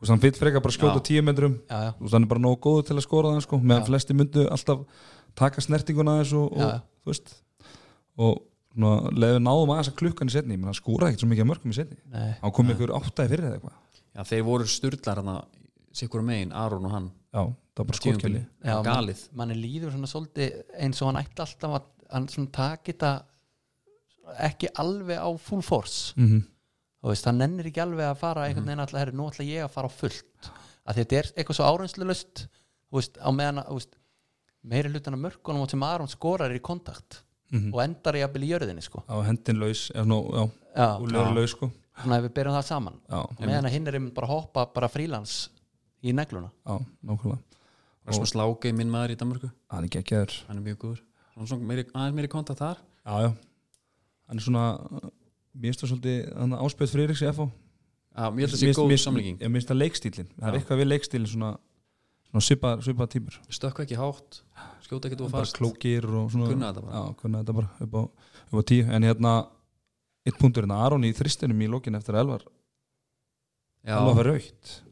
S1: Þú veist, hann vill freka bara skjóta
S2: Já.
S1: tíu metrum
S3: já, já,
S1: Þú veist, hann er bara nógu góður til að skora það sko, meðan flesti myndu alltaf taka snertinguna aðeins og,
S3: Já, já.
S1: og þú veist og svona, leðu náðum aðeins að klukkan í setni menn hann skóraði ekkert svo mikið að mörgum í setni
S3: nei,
S1: hann kom ykkur áttaði fyrir eða eitthvað
S2: já þeir voru styrlar hann að sikkur megin, Aron og hann
S1: já, það var bara skókjali
S3: já,
S2: tímabili. galið
S3: manni líður svona svolítið eins og hann ætti alltaf að hann svona taki þetta ekki alveg á full force
S1: mm -hmm.
S3: þú veist, hann nennir ekki alveg að fara einhvern veginn alltaf, herri, nú ætla ég að fara á fullt að þetta er eitthvað svo áreinslulöst þú veist, á meðan að, þú veist meiri hlutan af mörkunum sem Aron skorar er í kontakt og endar í að byrja í jörðinni sko.
S1: á hendin laus, eða svona, já,
S3: já,
S1: úljóra laus sko
S3: svona ef við byrjum það saman
S1: já,
S3: og meðan að hinn er einmitt bara að hoppa bara frílans í negluna
S1: já, nákvæmlega
S2: Rasmus Láke, minn maður í Danmörku
S1: hann er geggjaður
S2: hann er mjög góður hann er svona meiri, aðeins meiri kontakt þar
S1: Já, já Hann er svona Mér finnst það svolítið hann áspjöð Friðriks í FH
S2: að, ég held að það sé góð samlíking
S1: Ég minnst það leikstílin Það er eitthvað við leikstílin svona svona svipað svipa tímur
S2: stökka ekki hátt, skjóta ekki þú
S1: bara
S2: fast
S1: klókir og svona
S2: Kunna þetta bara.
S1: Já, kunna þetta bara upp á, upp á tíu En hérna Eitt punktur hérna Aron í þristinum í lókin eftir að Elvar
S2: já,
S1: Elvar var raukt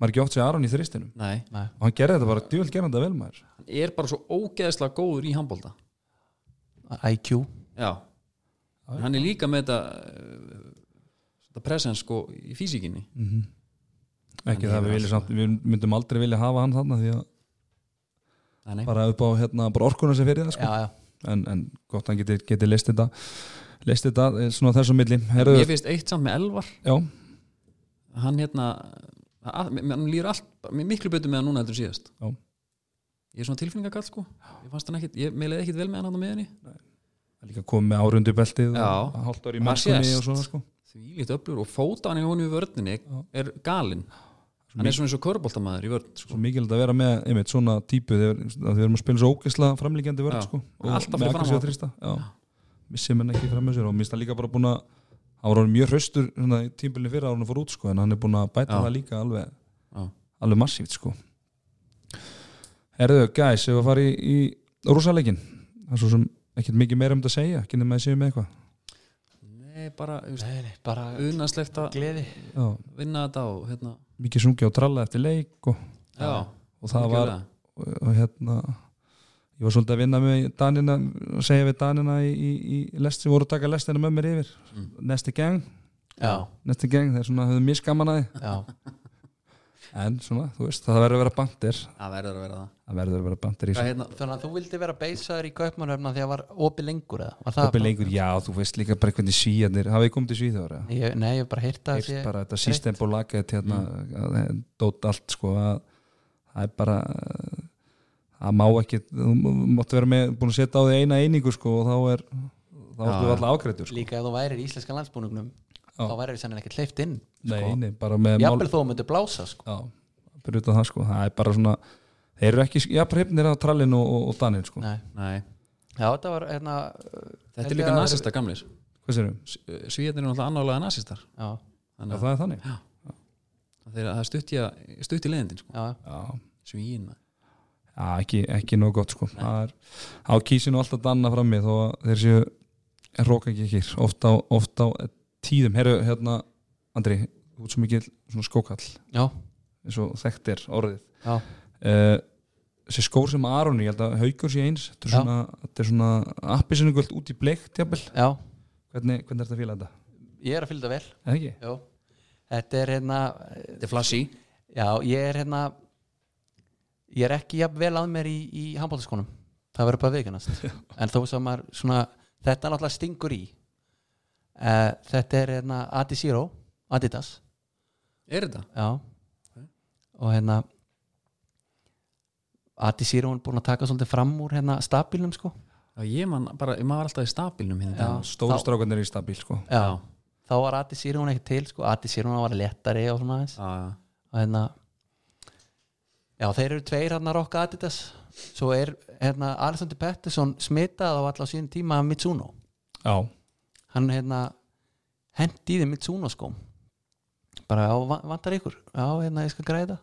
S1: Maður ekki átt sér Aron í þristinum
S2: nei,
S1: Og hann gerði þetta bara djúvel gerandi vel maður
S2: hann er bara svo ógeðslega góður í handbólta
S3: IQ
S2: já, En hann er líka með þetta eh, þetta presens sko í físikinni
S1: Ekki það
S2: hefur
S1: við viljum samt Við myndum aldrei vilja hafa hann þarna Því að
S2: Nei, nei.
S1: bara upp á hérna Bara orkuna sem fyrir það sko
S3: já, já,
S1: en, en gott hann geti, geti leist þetta leist þetta eh, svona þessu milli
S2: ég
S1: Herðu,
S2: finnst eitt samt með Elvar
S1: já,
S2: hann hérna að, mér- hann líður allt, mér er miklu betur með hann núna heldur en síðast
S1: Já.
S2: ég er svona tilfinningagall sko ég fannst hann ekkit, ég meðlega ekkit vel með hann hann á meðinni
S1: líka komið með árundu beltið og
S2: Já.
S1: hálft ári í
S2: Það
S1: mannskunni
S2: sést.
S1: og svona sko
S2: því lítið öflur og fóta hann í honum í vörninni er galinn hann er svona eins og körbóltamaður í vörn sko.
S1: svo mikilvægt að vera með einmitt svona típu þegar að við erum að spila svo ógeðsla framlíkjandi vörð
S2: Já.
S1: sko,
S2: Alltaf
S1: með
S2: fyrir
S1: aggressíva
S2: fram á.
S1: þrista, já. missi menn ekki fram með sér og minnst það líka bara búin að hann var orðinn mjög hraustur hérna, tímbilin fyrir árunum fór út sko, en hann er búin að bæta
S2: Já.
S1: það líka alveg,
S2: Já.
S1: alveg massíft sko. Erðu, guys, ef að fara í, í rússaleikin það er svo sem ekkert mikið meira um þetta að segja ekki nema að segja með eitthvað
S2: Nei, bara
S3: Nei, nei, bara
S2: unnarslegt að
S3: gleði
S1: Já,
S2: vinna þetta og hérna
S1: mikið sungi á tralla eftir leik og,
S2: Já,
S1: og það var
S2: algjörlega.
S1: og, og hérna ég var svolítið að vinna með Danina að segja við Danina í, í, í lest sem voru að taka lestina með mér yfir
S2: Mm.
S1: nesti gang,
S3: Já,
S1: nesti gang þeir svona höfðu miskaman að
S3: já,
S1: þið en svona, þú veist, það verður að vera bandir
S2: Það verður að vera það
S1: það verður að vera bandir í
S2: Hvað hérna,
S3: þannig að þú vildi vera beisaður í kaupmannöfna því að var opið lengur eða var það
S1: opið
S3: bara-
S1: lengur, já, þú veist líka bara hvernig svíjarnir hafið þið komið til svíþjóður eða?
S3: Ég, nei, ég hef bara heyrt að
S1: Heyrt bara þetta system og laget hérna,
S2: Mm.
S1: að það er dót allt sko að það er bara það má ekki, þú mátt vera með búin að setja á því eina einingu sko og þá er þá
S2: Já,
S1: ertu alltaf ágreitur sko.
S3: líka að þú værir í íslenska landsbúningnum
S1: Já.
S3: þá værir sannilega ekkert hleyft inn
S1: Nei,
S3: sko.
S1: nei, bara með mál,
S3: jafnvel þó að myndi blása sko.
S1: já, bara utan það sko, það er bara svona þeir eru ekki jafn hrifnir á trallin og, og, og danin sko,
S3: Nei.
S2: Nei,
S3: já, þetta var hérna
S2: þetta er líka nasista gamlir
S1: hvað sérum?
S2: Svíðarnir eru náttúrulega annálega nasistar
S3: já,
S1: Já,
S2: Þannig
S1: það er þannig
S2: að þeir- það er stutt í að- stutt í leiðindin sko.
S3: já,
S1: Já,
S2: Svíin maður.
S1: já ekki, ekki nóg gott sko, það er á kísinu alltaf danna frammi þó að þeir séu rókangi ekki, oft á, oft á tíðum, herru, hérna Andri, þú ert svo mikil svona skókall
S3: já,
S1: eins og þekkt er orðið
S3: já,
S1: uh, þessi skór sem Aroni, ég held að haugur sé eins, þetta er
S3: Já.
S1: svona, þetta er svona appisynugöld út í bleikt, jafnvel
S3: já.
S1: hvernig, hvernig er þetta að fíla þetta?
S3: ég er að fylgja vel
S1: Eða ekki?
S3: já. þetta er hérna
S2: Þetta er flassi
S3: já, ég er hérna ég er ekki jafn vel að mér í, í handbóltaskonum það verður bara viðkannast en þó sem maður svona þetta er náttúrulega stingur í uh, þetta er hérna Adizero Adidas
S2: Er þetta?
S3: Já Og hérna Adi Sírón búin að taka svolítið fram úr hérna stabilnum sko
S2: Já, ég man bara, maður var alltaf í stabilnum hérna í dag.
S3: Já.
S1: stóru
S3: Þá-
S1: strákarnir í stabil sko.
S3: Já. Þá var Adi Sírón ekki til sko Adi Sírón var léttari og svona aðeins
S2: Já, já.
S3: Og hérna Já þeir eru tveir hérna Rokka Adidas Svo er hérna Alexander Pettersson smitað á alla á sínum tíma af Mitsuno
S1: já,
S3: Hann hérna hendi í þeim Mitsuno skóm Bara já va- vantar ykkur Já hérna ég skal græða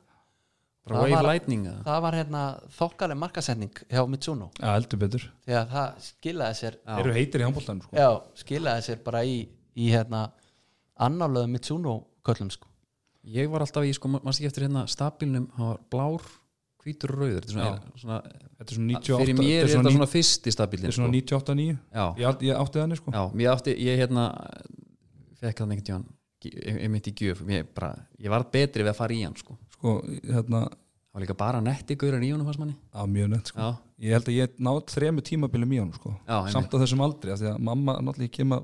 S2: Bara
S3: Það
S2: wave
S3: var-
S2: lightning eða?
S3: Það var hérna þokkaleg markasending hjá Mitsuno
S1: ja, eldur betur
S3: því að það skilaði sér
S2: Já.
S1: eru heitir í handbóltanum sko.
S3: já, skilaði sér bara í, í hérna annarlega Mitsuno köllum sko
S2: Ég var alltaf í, sko, ma- manstu ekki eftir hérna stabilnum, hann var blár, hvítur og rauður. Þetta er
S1: Já.
S2: svona, svona,
S1: þetta er svona 98
S2: fyrir mér er
S1: þetta
S2: þetta
S1: er svona,
S2: svona fyrsti stabilinn.
S1: þetta er svona 98 9
S2: Já.
S1: ég, átti- ég átti þannig sko.
S2: Já, ég átti, ég hérna fekk hann einhvern tíðan einmitt í gjöf, ég bara ég var betri við að fara í hann sko
S1: sko, hérna,
S2: það var líka bara netti gaurin í honum fannst manni
S1: á mjög nett sko.
S2: já,
S1: ég held að ég náð þremu tímabilum í honum sko.
S2: já, einmitt.
S1: samt á þessum aldri af því að mamma náttúrulega ég kem að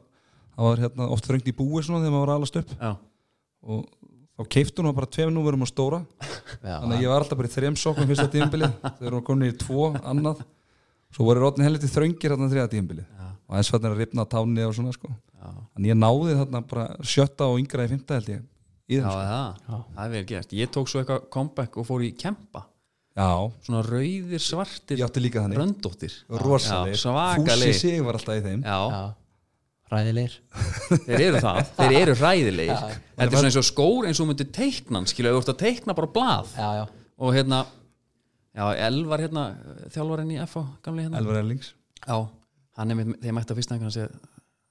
S1: það var hérna, oft þröngt í búi svona þegar maður var alast upp
S2: já,
S1: og þá keifti hún var bara tveim núverum á stóra
S3: já,
S1: þannig að ég var alltaf bara í þrem sokkum fyrsta tímabilið þegar hún var komin í tvo annað svo voru rótin helviti þröngir þarna þriða tímabilið
S2: já,
S1: og eins var að ripna tánni og svona sko.
S2: já,
S1: en ég náði þarna bara sjötta og yngra í fymta held ég í
S2: já
S1: þeim, sko.
S2: það,
S3: Já.
S2: það er verið gerst ég tók svo eitthvað comeback og fór í kempa
S1: já,
S2: svona rauðir svartir
S1: ég átti líka þannig
S2: röndóttir
S1: rosalegir,
S2: Já, svakalegir.
S1: Fúsi sig var alltaf í þeim
S2: já,
S3: já. ræðilegir
S2: þeir eru það, þeir eru ræðilegir
S3: Já.
S2: þetta er svona eins og skór eins og myndir teiknan skilja, þú ert að teikna bara blað
S3: já, já,
S2: og hérna, já, Elvar hérna þjálfarinn í FH, gamli hérna
S1: Elvar Erlings
S2: Já, hann er með, þegar ég mætti á fyrsta einhvern að segja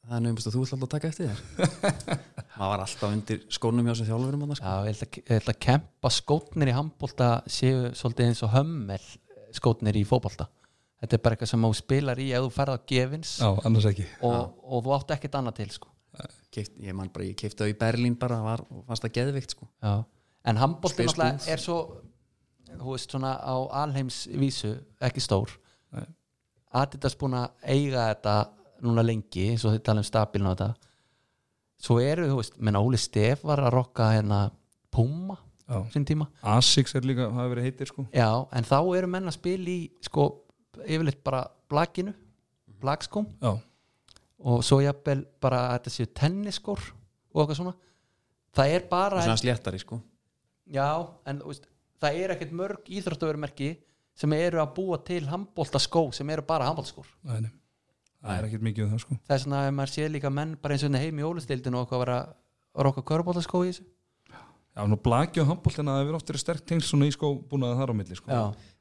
S2: það er nefnumst að þú ætla alltaf að taka eftir þér maður var alltaf undir skónum hjá sem þjálfurum hann
S3: já,
S2: sko.
S3: ég held að, ég held að kempa skótnir í handbólta séu svolítið eins og hömmel skótnir í fótbolta þetta er bara eitthvað sem þú spilar í ef þú ferð á gefins
S1: já, annars ekki
S3: og, og þú átt ekkert annað til sko
S2: Keypt, ég man bara, ég keipti það í Berlín bara var, og fannst það geðvikt sko.
S3: já. en handbólti
S2: Space
S3: náttúrulega
S2: Wolves.
S3: er svo hú veist svona á alheimsvísu ekki stór
S1: Nei.
S3: Adidas búin að eiga þetta núna lengi, eins og þið tala um stabiln á þetta svo eru, þú veist menn Óli Stef var að rokka hérna Puma
S1: já.
S3: sín tíma
S1: Asics er líka, hafi verið heitir sko
S3: já, en þá eru menn að spila í sko, yfirleitt bara blakinu
S2: Mhm.
S3: blakskum
S1: já,
S3: og svo jafnvel bara að þetta séu tenniskor og eitthvað svona það er
S2: og
S3: bara
S2: svona sléttari sko.
S3: Já, en þú veist, það er ekkert mörg íþróttaverumerki sem eru að búa til handbóltaskó sem eru bara handbóltaskór
S1: það er það er ekkert mikið um það sko
S3: það er svona að maður sé líka menn bara eins og hérna heim í ólustildinu og okkur var að rokka körbótaskó í þessu
S1: Já, nú blaki og handbóltina það hefur oft verið sterk tengst svona í skó búin að það er á milli sko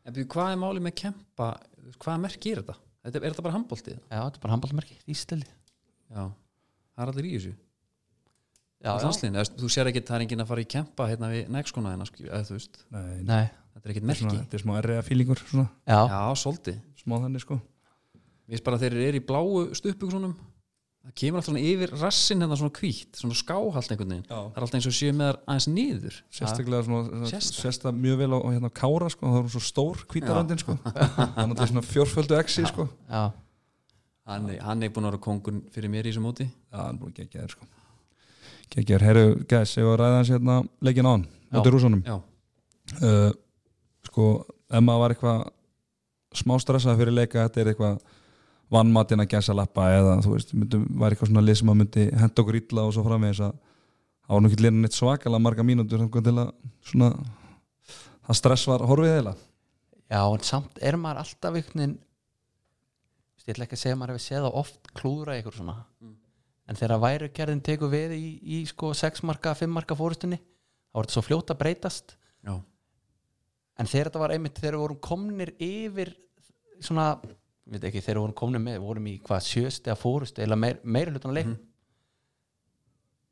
S2: En byrju, hvað er málið með kempa hvaða merki er þetta? þetta er þetta bara handbóltið?
S3: já, þetta er bara handbóltmerki, ístildi
S2: Já, það er allir í þessu Í
S3: já, já,
S2: landsliðinu, þú veist, Þú sér ekki það er enginn að fara í kempa hérna við nægskona hérna, skil- eða þú veist,
S1: Nei,
S2: þetta er
S3: nei,
S2: ekkit
S1: þetta er
S2: merki
S1: svona- þetta er smá erriða fílingur svona,
S3: já,
S2: Já, svolítið
S1: smá þannig sko
S2: Mér finnst bara að þeir eru í bláu stuppugsunum það kemur alltaf svona yfir rassin hérna svona hvítt, svona skáhalt einhvern veginn
S1: Já.
S2: það er alltaf eins og séu með þar aðeins niður
S1: sérstaklega svona,
S2: Sést það?
S1: sérsta mjög vel á á hérna kára sko, það er hún svo stór kvítaröndin sko þannig að það er svona fjórföldu exi sko
S3: já,
S2: hann, er- hann er búin að vera kongun fyrir mér í þessu móti
S1: já, hann er búin geggjaður sko geggjaður, herru, gæs, ég var að ræða hans hérna leikin án,
S3: Já.
S1: móti rúsunum
S2: Já,
S1: uh, sko, ef maður var eitthvað smá stressað fyrir leika þetta er eitthvað vannmatinn að gæsa lappa eða þú veist, myndum, var eitthvað svona lið sem að myndi henda okkur illa og svo framvegis að það var nú ekki lirna neitt svakalega marga mínútur þangað til að svona það stress var horfið heila
S3: já, en samt er maður alltaf ykkurnin ég ætla ekki að segja að maður hefur séð það oft klúðra ykkur svona en þegar værugerðin tekur við í, í sko 6 marka, 5 marka fórustunni þá var þetta svo fljótt að breytast
S2: já,
S3: en þegar þetta var einmitt þegar við vorum komnir yfir svona, ég veit ekki, þegar við vorum komnir með við vorum í hvað sjöst eða fórust eða meir, meira hlutan að leik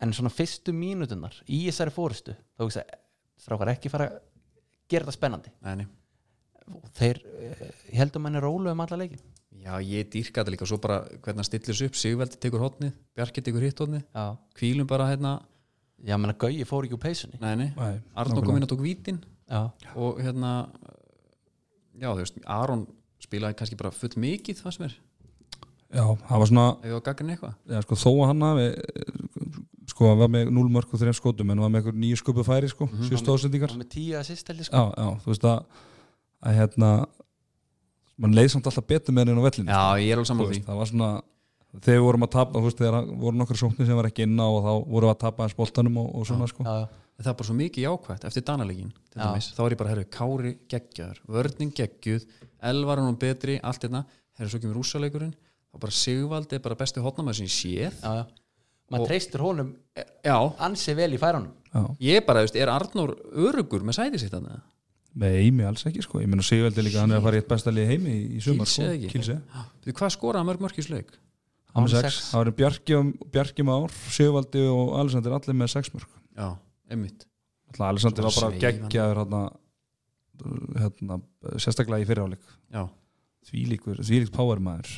S3: en svona fyrstu mínutunar í þessari fórustu, þá veist að strákar ekki fara að gera þetta spennandi
S2: neini
S3: og þeir heldum henni rólu um alla leikin
S2: Já, ég dýrka þetta líka svo bara hvernig hann stillir þessu upp, Sigveldi tekur hotnið Bjarki tekur hitt hotnið,
S3: já,
S2: kvílum bara hérna,
S3: já menna Gauji fór ekki úr peysunni
S2: neini
S1: Nei,
S2: Arnó kom inn og tók vítin
S3: já,
S2: og hérna já, þú veist, Aron spilaði kannski bara full mikið það sem er,
S1: Já, það var svona,
S2: ef ég var gaggrinni eitthvað
S1: já, sko, þó að hann hafi eh, sko, hann var með 0 mörg og 3 skotum en var með einhver nýju sköpu færi sko,
S2: Mhm.
S1: mm -hmm. síðustu ásendingar
S3: og með tíu að sýsteldi sko.
S1: já, já, þú veist að, að hérna mann leið samt alltaf betur með henni á vellinu
S2: Já, ég er alveg
S1: þú
S2: saman því
S1: veist, það var svona þegar við vorum að tapa, þú veist, þegar voru nokkra sóknir sem var ekki inna og þá vorum við að tapa hans boltanum og, og svona sko
S3: já, já,
S2: það er bara svo mikið jákvætt eftir Danalegin
S3: Já.
S2: þá er ég bara, herru, Kári geggjaður vörning geggjuð, Elvar er nú betri allt þetta, herru, svo kemur rússaleikurinn og bara Sigvaldi er bara bestu hotnamaður sem ég séð
S3: já, já. maður treystir honum
S2: Já,
S3: ansi vel í færunum
S1: já.
S2: ég bara, veist, er Arnór örugur með sæti sitt hann
S1: með Eimi alls ekki sko, ég meina Sigveldi líka hann er að fara í eitt besta lið heimi í, í sumar
S2: Kilsi
S1: sko,
S2: eða ekki?
S1: Kilsi,
S2: Þú, hvað skoraði mörg mörg í sleik?
S1: hann er
S3: Hann var
S1: sex,
S3: sex.
S1: það var Bjarki, og- Bjarki Már Sigvaldi og Alessandir allir með sex mörg
S2: Já, einmitt
S1: Alltaf Alessandri var bara
S2: Sveifandi.
S1: geggjaður hérna, hérna, sérstaklega í fyrirháleik
S2: Já,
S1: þvílíkur, þvílíkt power maður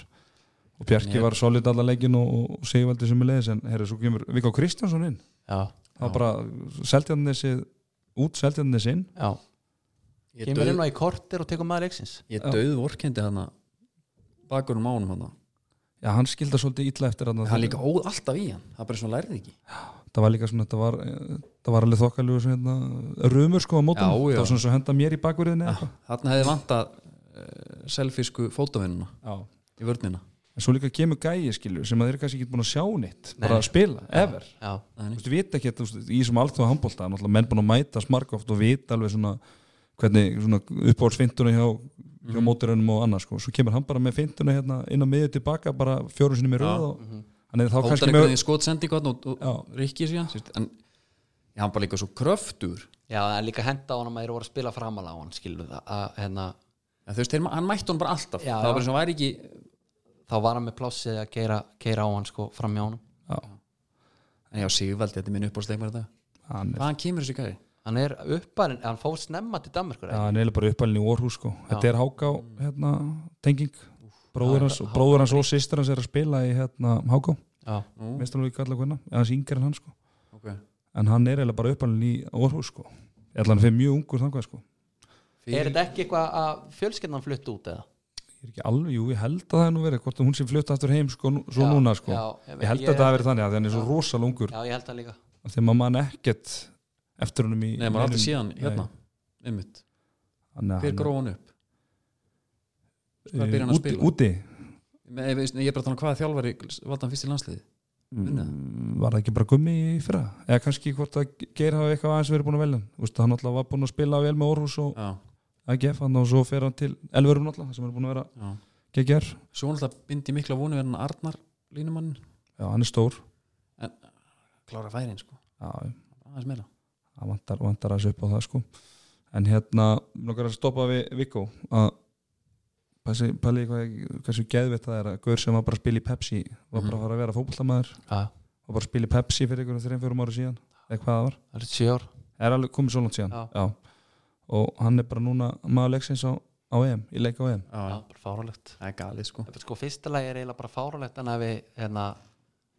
S1: og Bjarki
S2: Nei.
S1: var solid alla leikin og, og Sigvaldi sem er leiðis en herri, svo kemur Viggo Kristjánsson inn
S3: já,
S1: það var bara seldjarnesi út seldjarnesi inn
S3: já
S2: ég
S3: kemur
S2: döð,
S3: inn á í kortir og tekur maður leiksins
S2: ég döð vorkendi hann bakurum ánum hann
S1: já, hann skilda svolítið illa eftir hann
S2: Hann líka óð alltaf í hann, það er bara svona lærið ekki
S1: það var líka svona, það var, eh, það var alveg þokkalegu hérna, rumur sko á mótum
S2: Já, já.
S1: það var svona svo henda mér í bakverðinni eða eitthvað.
S2: Þarna hefði vantað uh, selfisku fótavinnuna
S1: Já.
S2: í vörnina
S1: en svo líka kemur gæi skilju sem að þeir eru kannski ekki búin að sjá neitt bara að spila, ever
S3: já,
S1: Þú veist, vita ekki, þú veist, í þessum alþjóða handbólta náttúrulega menn búin að mæta smarka oft og vita alveg svona hvernig svona uppáhaldsfindunni hjá, hjá
S2: Mhm.
S1: móturunum og annars sko. svo kemur hann bara með findunni hérna inn á miðið tilbaka bara fjórum sinni með röð og hann er þá
S2: Hóttar
S1: kannski
S2: mhm. einhvern
S1: með
S2: veginn skotsendingu hann og,
S1: Já.
S2: og Rikki síðan sérst, en já, hann bara líka svo kröftur
S3: já, en líka henda honum að þeir voru að spila framal á hann skilur það að hérna
S2: en þú veist, þeir, ma- hann mætti hann bara alltaf
S3: Já,
S2: það var
S3: já.
S2: bara eins og hann væri ekki
S3: þá var hann með plássið að keira, keira á hann sko fram hjá honum
S1: Já,
S2: en já, Sigvaldi, þetta er minn uppáhaldsleikmar þetta
S1: hann er,
S2: hvaðan kemur þessi gæði?
S3: hann er uppalinn, hann fór snemma til Danmarkur
S1: já, hann er bara uppalinn í Orhus sko. þetta er Háká hérna, tenging bróður hans, og bróður hans og sýstur hans er að spila í hérna, Háká,
S3: já,
S1: minnst alveg ekki allar hvernig hans yngri en hann sko.
S2: Okay.
S1: en hann er eiginlega bara uppalinn í Orhus sko. allan fyrir mjög ungur þangar sko.
S3: er þetta ekki eitthvað að fjölskyldan flutt út eða?
S1: ég er ekki alveg, jú, ég held að það er nú verið hvort að hún sem flutt aftur heim sko, nú- svo
S3: Já,
S1: núna sko.
S3: já,
S1: ég held
S3: ég-
S1: að það hafi verið þannig að hann er svo rosalungur
S3: já, ég held það líka
S1: þegar maður mann ekkert eftir honum í
S2: Nei, maður aldrei
S1: neinum-
S2: síðan hérna einmitt,
S1: Hann-
S2: hver
S1: hann-
S2: gróð hann upp? Hvað
S1: eh,
S2: byrjar hann að
S1: úti-
S2: spila?
S1: úti,
S2: Nei, ég veist- ég er bara að tala um hvaða þjálfari valda hann fyrst í landsliði mm.
S1: var það ekki bara gummi í fyrra eða kannski hvort að Geir hafi eitthvað aðeins verið búin að velja hann. Þú veist, hann alltaf var búin að spila vel með Orhus og
S2: já,
S1: AGF hann og svo fer hann til Elverum alltaf sem er búin að vera
S2: já,
S1: geggjær,
S2: svo náttúrulega bindi mikla vonu verðan Arnar línumann
S1: já, hann er stór
S2: klára færin sko,
S1: já,
S2: aðeins meira
S1: það vantar, vantar aðeins upp á það sko en hérna, nokkar að stoppa við Viggo að pæli, pæli hvað, hversu geðvitt það er að Gaur sem var bara að spila í Pepsi var bara að fara að vera fótboltamaður
S3: Já,
S1: var bara að spila í Pepsi fyrir einhverjum þreim, fjórum ára síðan eða hvað það var,
S3: það er sjö ár
S1: er alveg komið svo langt síðan
S3: Já.
S1: og hann er bara núna maður leiksins á, á EM, í leik á EM
S2: já,
S3: Já,
S2: já.
S3: bara fáralegt
S2: það er galið sko
S3: Sko, fyrsta lagi er eiginlega bara fáralegt en að við hérna,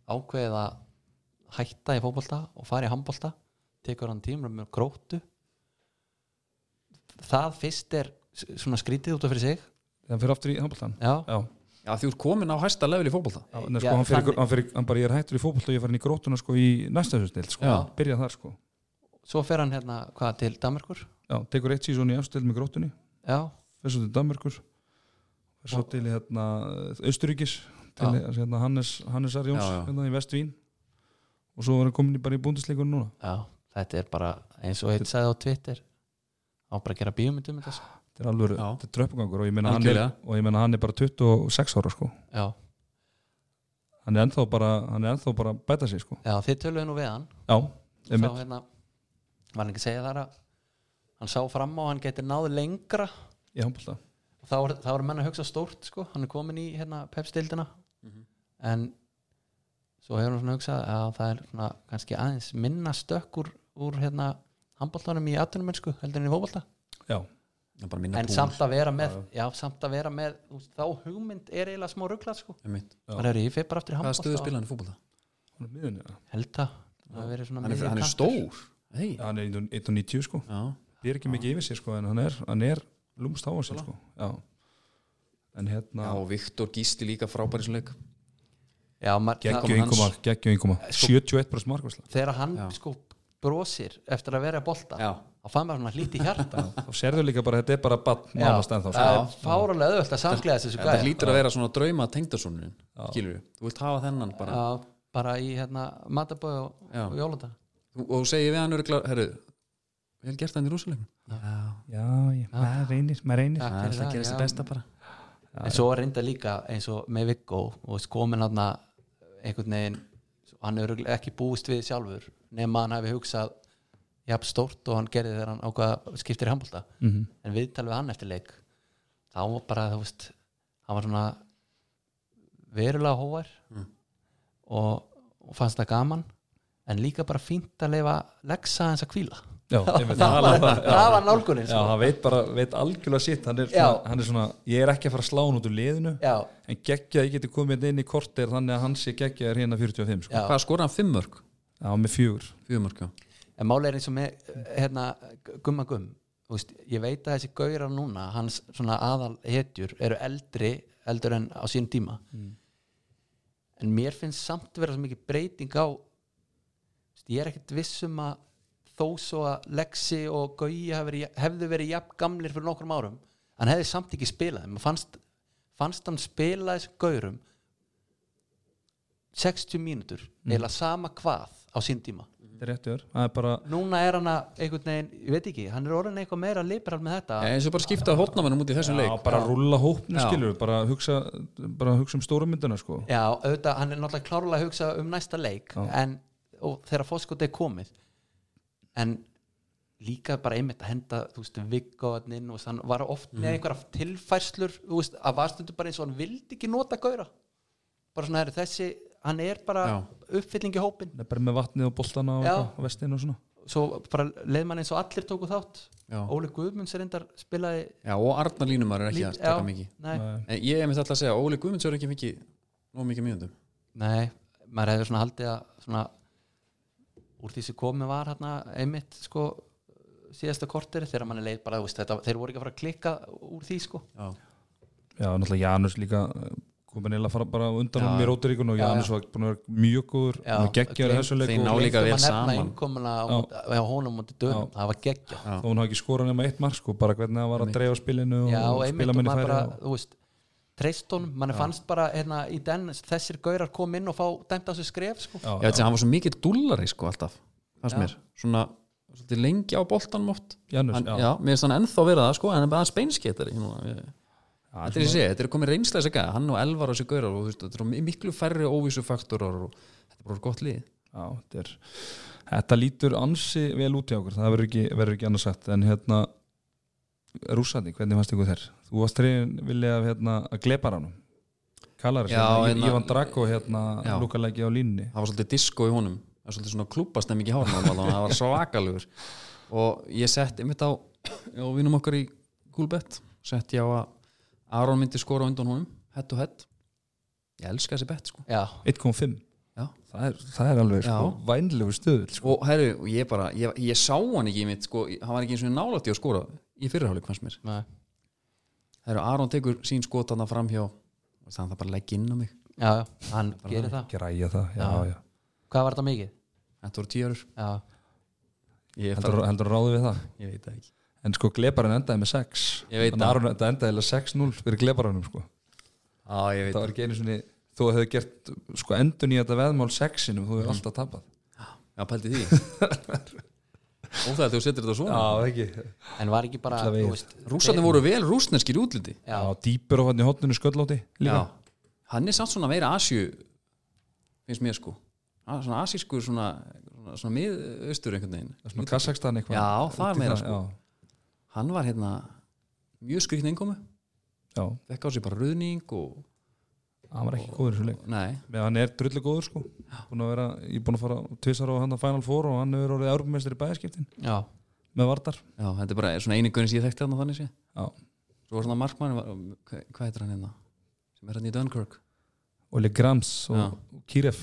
S3: ákveðið að hætta í fótbolta og fara í handbolta tekur hann tímur með gróttu það fyrst er s- svona skrítið út af fyrir sig
S1: þannig fyrir aftur í handbóltan
S3: já,
S1: já,
S2: já, þú ert komin á hæsta level í fótbolta
S1: Já, nei,
S3: Já,
S1: sko, hann, fyrir,
S3: þannig.
S1: hann, fyrir, hann bara ég er hættur í fótbolt og ég er farin í grótuna sko í næsta stöld sko,
S2: Já.
S1: byrja þar sko
S3: svo fer hann hérna, hvað, til Danmarkur
S1: já, tekur eitt síðan í afstöld með grótunni
S3: já,
S1: fyrir svo til Danmarkur fyrir svo til hérna Östuríkis til
S3: Já.
S1: hérna, Hannes, Hannes Arjóns
S2: Já, já.
S1: hérna í Vestvín og svo var hann komin í bara í búndisleikunum núna
S3: já, þetta er bara eins og eitt sagði á Twitter á bara að gera bíómyndum um þetta, sko.
S1: þetta er alveg,
S2: Já.
S1: þetta er tröppugangur og ég meina hann er,
S2: Algjörlega.
S1: og ég meina hann er bara 26 ára sko
S3: já,
S1: hann er ennþá bara, hann er ennþá bara að bæta sig sko
S3: já, þið töluðu nú við hann
S1: já,
S3: þá
S1: einmitt,
S3: hérna var hann ekki að segja þar að hann sá fram á að hann getur náð lengra
S1: í handbólta
S3: og þá voru- þá voru menn að hugsa stórt sko. hann er komin í hérna, pepstildina
S2: Mhm.
S3: en svo hefur hann svona hugsað að það er svona, kannski aðeins minna stökk úr, úr hérna, handbóltanum í atvinnumennsku heldur en í fótbolta
S1: já,
S2: Það er bara minna
S3: en
S2: púl.
S3: samt að vera með, já, samt að vera með þú veist, þá hugmynd er eiginlega smá ruggla sko.
S2: Einmitt.
S1: Já.
S3: bara er ég fyrir bara aftur í
S2: hvaða stöðu
S3: handbólta
S2: spila hann í fótbolta?
S1: hann er miðunni já,
S3: held að það verið svona
S2: hann er, hann er
S3: miðjukantur.
S2: stór hey.
S1: hann er 1.90 sko
S2: já.
S1: það er ekki mikið yfir sér sko en hann er, hann er lúmst á sér sko já. en
S2: já,
S1: hérna
S2: og Viktor Gísli líka frábæri sem leik
S3: já, maður, það,
S1: geggju ynguma, geggju ynguma
S2: Eh, sko-
S1: 71% markværsla,
S3: þegar hann
S2: Já.
S3: sko brosir eftir að vera að bolta
S2: já,
S3: þá fann maður svona lítið hjarta
S1: þá sérðu líka bara að þetta er bara bann
S3: Já.
S1: nánast ennþá sko.
S3: það er fáralega auðvöld að samklega þessu
S2: þetta
S3: gæja
S2: hlýtur að vera svona drauma tengdarsónunin, skilur við, þú vilt hafa þennan bara
S3: Já, bara í hérna matabói og,
S2: Já.
S3: og jólandag
S2: og, og þú segir við hann örgulega, herru vel gert hann í rúsuleikum það
S1: já, já, maður reynir, maður reynir
S3: Takk fyrir það, já.
S2: bara
S3: en svo reynda líka eins og með Viggo og skomin hann einhvern veginn, hann er örugglega ekki búist við sjálfur nema hann hafi hugsað jafn stórt og hann gerði þegar hann ákvað skiptir í handbólta
S1: Mhm.
S3: en viðtal við hann eftir leik þá var bara, þú veist hann var svona verulega hóvar
S1: Mm.
S3: og, og fannst það gaman en líka bara fínt að leifa leggsa hans að kvíla
S1: já, einmitt,
S3: það var,
S1: já,
S3: það var nálgunin
S1: já,
S3: sko.
S1: hann veit bara, veit algjörlega sitt hann er,
S3: Já.
S1: svona, hann er svona, ég er ekki að fara að slá hann út úr liðinu
S3: já,
S1: en geggja, ég geti komið hérna inn í kortir þannig að hann sé geggja er hérna 45 sko.
S3: já.
S2: hvað skora hann fimm mörg?
S1: já, með fjögur
S2: fjögur mörg, já
S3: en máli er eins og með hérna, gumma gumm Þú veist, ég veit að þessi gaurar núna hans svona aðal hetjur eru eldri eldur en á sín tíma en mér finnst samt vera svo mikið breyting á þú veist, ég er ekkert viss um að þó svo að Lexi og Gaui hafi verið- hefðu verið jafn gamlir fyrir nokkrum árum hann hefði samt ekki spilað þeim. Mér fannst, fannst hann spila þessum gaurum 60 mínútur eða sama hvað á sín tíma
S1: þetta er réttur, það er bara
S3: núna er hann að einhvern veginn, ég veit ekki, hann er orðin eitthvað meira liberal með þetta
S2: Nei, eins og bara skipta hotnamannum út í þessum
S1: já,
S2: leik
S1: bara rúlla hópnu
S2: Já.
S1: skilur bara hugsa, bara hugsa um stóra myndina sko.
S3: já, auðvitað, hann er náttúrulega klárlega að hugsa um næsta leik
S1: Já.
S3: en, og þegar fórskotið er komið en líka bara einmitt að henda, þú veist, vikkoðnin og hann var oft
S2: Mm.
S3: með einhverja tilfærslur þú veist, að varstundu bara eins og hann vildi ekki nota gaura bara svona, heru, þessi, hann er bara
S2: Já.
S3: uppfylling í hópin
S1: Hann er bara með vatnið og boltana og,
S3: Já.
S1: eitthvað, og vestinu og svona
S3: svo bara leið mann eins og allir tóku þátt
S2: Já.
S3: Óli Guðmunds er endar spilaði
S2: já, og Arnar Línumar er ekki að taka mikið
S3: nei,
S2: En ég er mitt alltaf að segja, Óli Guðmunds er ekki mikið nóg mikið mjöndum
S3: Nei, maður hefur svona haldið að svona, úr því sem komið var hérna einmitt sko síðasta kortir þegar mann er leið bara, þú veist, þetta, þeir voru ekki að fara að klikka úr því sko
S2: já.
S1: Já, náttúrulega Janus líka eh, komin eða fara bara á undan honum í róturíkun og
S3: Já,
S1: Janus var búin að vera mjög góður
S3: Já.
S1: og geggjaður í þessu leik
S2: Þeir
S1: og
S2: ná- líka vel saman.
S3: innkomuna á, á honum múti dögum, það var geggja já,
S1: þó hún hafi ekki skorað nema eitt mark sko, bara hvernig það var að dreifa spilinu og,
S3: og
S1: og
S3: einmitt
S1: spila
S3: og
S1: minni
S3: maður
S1: færi
S3: bara,
S1: og...
S3: þú veist treyst honum, mann fannst bara hérna, í den þessir gaurar kom inn og fá dæmt á þessu skref sko
S1: Já,
S2: Ég veit sem hann var svo mikið dúllari sko alltaf fannst mér, svona svolítið lengi á boltanum oft
S1: Janus,
S2: hann,
S1: já.
S2: já, mér finnst hann ennþá vera það sko en hann er bara speinsketari ég, þetta er, ég segi, þetta er komið reynsla þess að gæða hann og Elvar og þessi gaurar og þú veist, þetta er miklu færri óvísu faktorar og þetta er bara gott lið
S1: Já, þetta, er, þetta lítur ansi vel út í okkur, það verður ekki, verður ekki annars sagt en hérna rússandi, hvernig fannst ykkur þér? Þú varst treyðin vilja af hérna, að glepa hann Kallar,
S2: Já,
S1: hérna,
S2: hérna-
S1: Ívan Drago hérna,
S2: Já.
S1: lúkalæki á línni
S2: það var svolítið disko í honum það var svolítið svona klúbastem ekki hárnum það var svakalugur og ég sett einmitt á á vinum okkar í gúlbett sett ég á að Aron myndi skora á undan honum head to head ég elska þessi bett sko
S3: já,
S1: 1.5
S2: Já.
S1: það, er- það er alveg
S2: Já.
S1: sko, vænlegu stöðul sko.
S2: og herru, og ég bara, ég, ég sá hann ekki mitt sko, hann var ekki eins og nálætti að skora í fyrirháleik fannst mér
S3: nei.
S2: herru, Aron tekur sín skot hann fram hjá þannig að það bara legg inn á mig
S3: já, já, hann gerir það
S1: græja það, já,
S3: Já.
S1: já,
S3: hvað var þetta mikið?
S2: þetta voru tíjarur
S3: já,
S2: ég,
S1: Heldur,
S2: bara-
S1: heldur ráði við það
S2: ég veit það ekki
S1: en sko gleparinn endaði með 6
S2: Ég
S1: Þannig
S2: veit
S1: að
S2: það.
S1: Aron- þetta endaði eiginlega 6-0 fyrir gleparinnum sko.
S2: á, ég veit
S1: það var ekki einu svona þú hefði gert sko, endun í þetta veðmál 6-inum þú
S2: Mm.
S1: hefur alltaf tapað
S2: Já, pældi því Óþægilegt þegar þú setur þetta svona
S1: Já, ekki
S3: en var ekki bara
S1: Alla vegið.
S3: þú veist,
S2: Rússarnir voru vel rúsneskir í útliti
S1: Já,
S3: Já.
S1: dýpur og hann í hotninu sköllóti líka
S2: Já Hann er samt svona meira asju finnst mér sko Hann er Svona asískur svona, svona, svona miðaustur einhvern veginn
S1: Svona Kazakstan eitthvað
S2: Já, það er
S1: Út í
S2: meira, sko.
S1: já.
S2: Hann var hérna mjög skrikn einkomu
S1: Já,
S2: Fekk á sig bara ruðning og
S1: hann var ekki góður í svo leik
S2: Nei,
S1: Með hann er drullu góður sko búin að vera, Ég er búin að fara tvisar á hann að Final Four og hann hefur orðið árbjörnmestri í bæðaskiptin
S3: já, með vardar
S2: já, þetta er bara svona eini guðin sem ég þekkti hann þannig sé
S1: Já,
S2: Svo var svona markmann Hvað hvað heitir hann hérna? Sem er hann í Dunkirk
S1: Oli Grams og
S2: Já.
S1: Kiref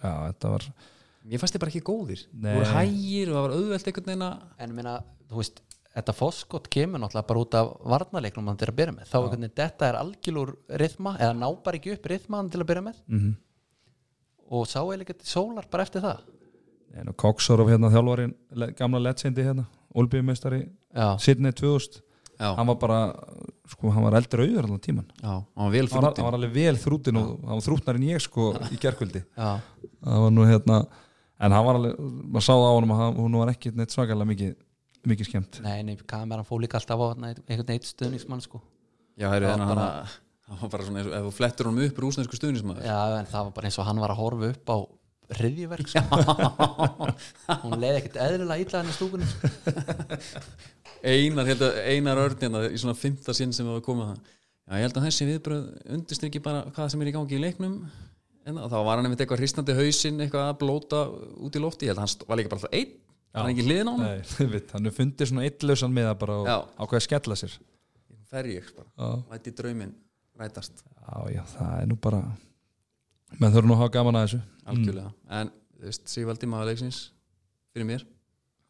S1: Já, þetta var
S2: Ég fannst þið bara ekki góðir
S1: Nei.
S2: Þú voru hægir og það var auðvelt einhvern veginn að
S3: en ég meina, þú veist, þetta fóskot kemur náttúrulega bara út af varnarleiknum hann til að byrja með, þá einhvern veginn þetta er algjörlur rithma, eða ná bara ekki upp rithman til að byrja með
S2: Mhm.
S1: mm -hmm.
S3: og sá eða ekki sólar bara eftir það
S1: En og Koksarov hérna þjálfarin le- gamla legendi hérna, olbjörnmestari
S3: já,
S1: Sidney 2000,
S2: Já,
S1: hann var bara sko, hann var eldur auður allan tíman
S2: já, hann var vel
S1: hann var,
S2: þrútinn
S1: hann var alveg vel þrútin og hann var þrútnar en ég sko í gerkvöldi
S3: já,
S1: það var nú hérna en hann var alveg, maður sá það á honum að hann- hún var ekki neitt svakalega mikið, mikið skemmt
S3: nei, nei, kameran fór líka alltaf á þarna einhvern veginn eitt stuðningsmann sko
S2: Já, heyrðu,
S3: Já,
S2: en hann
S3: bara-
S2: hann var bara svona eins og ef þú flettur honum upp rúsnesku stuðnismæður
S3: já, en það var bara eins og hann var að horfa upp á hriðjuverk sko. hún leiði ekkert eðlilega illa hann í stúkunum sko.
S2: Einar, held að- einar örnina í svona fymta sinn sem við komið það Já, ég held að þessi viðbröð undirstrykki bara hvað sem er í gangi í leiknum en þá var hann einmitt eitthvað hristandi hausinn eitthvað að blóta út í lofti ég held að hann st- var líka bara alltaf einn hann er ekki hliðin á hann
S1: Nei, þið veit, hann er fundið svona eittlausan með það bara og
S2: Já.
S1: ákveði að skella sér
S2: fer ég bara,
S1: já.
S2: læti drauminn rætast
S1: já, já, það er nú bara menn þurfa nú að hafa gaman að þessu
S2: algjörlega, en þú veist, Sigvaldi maður leiksins fyrir mér,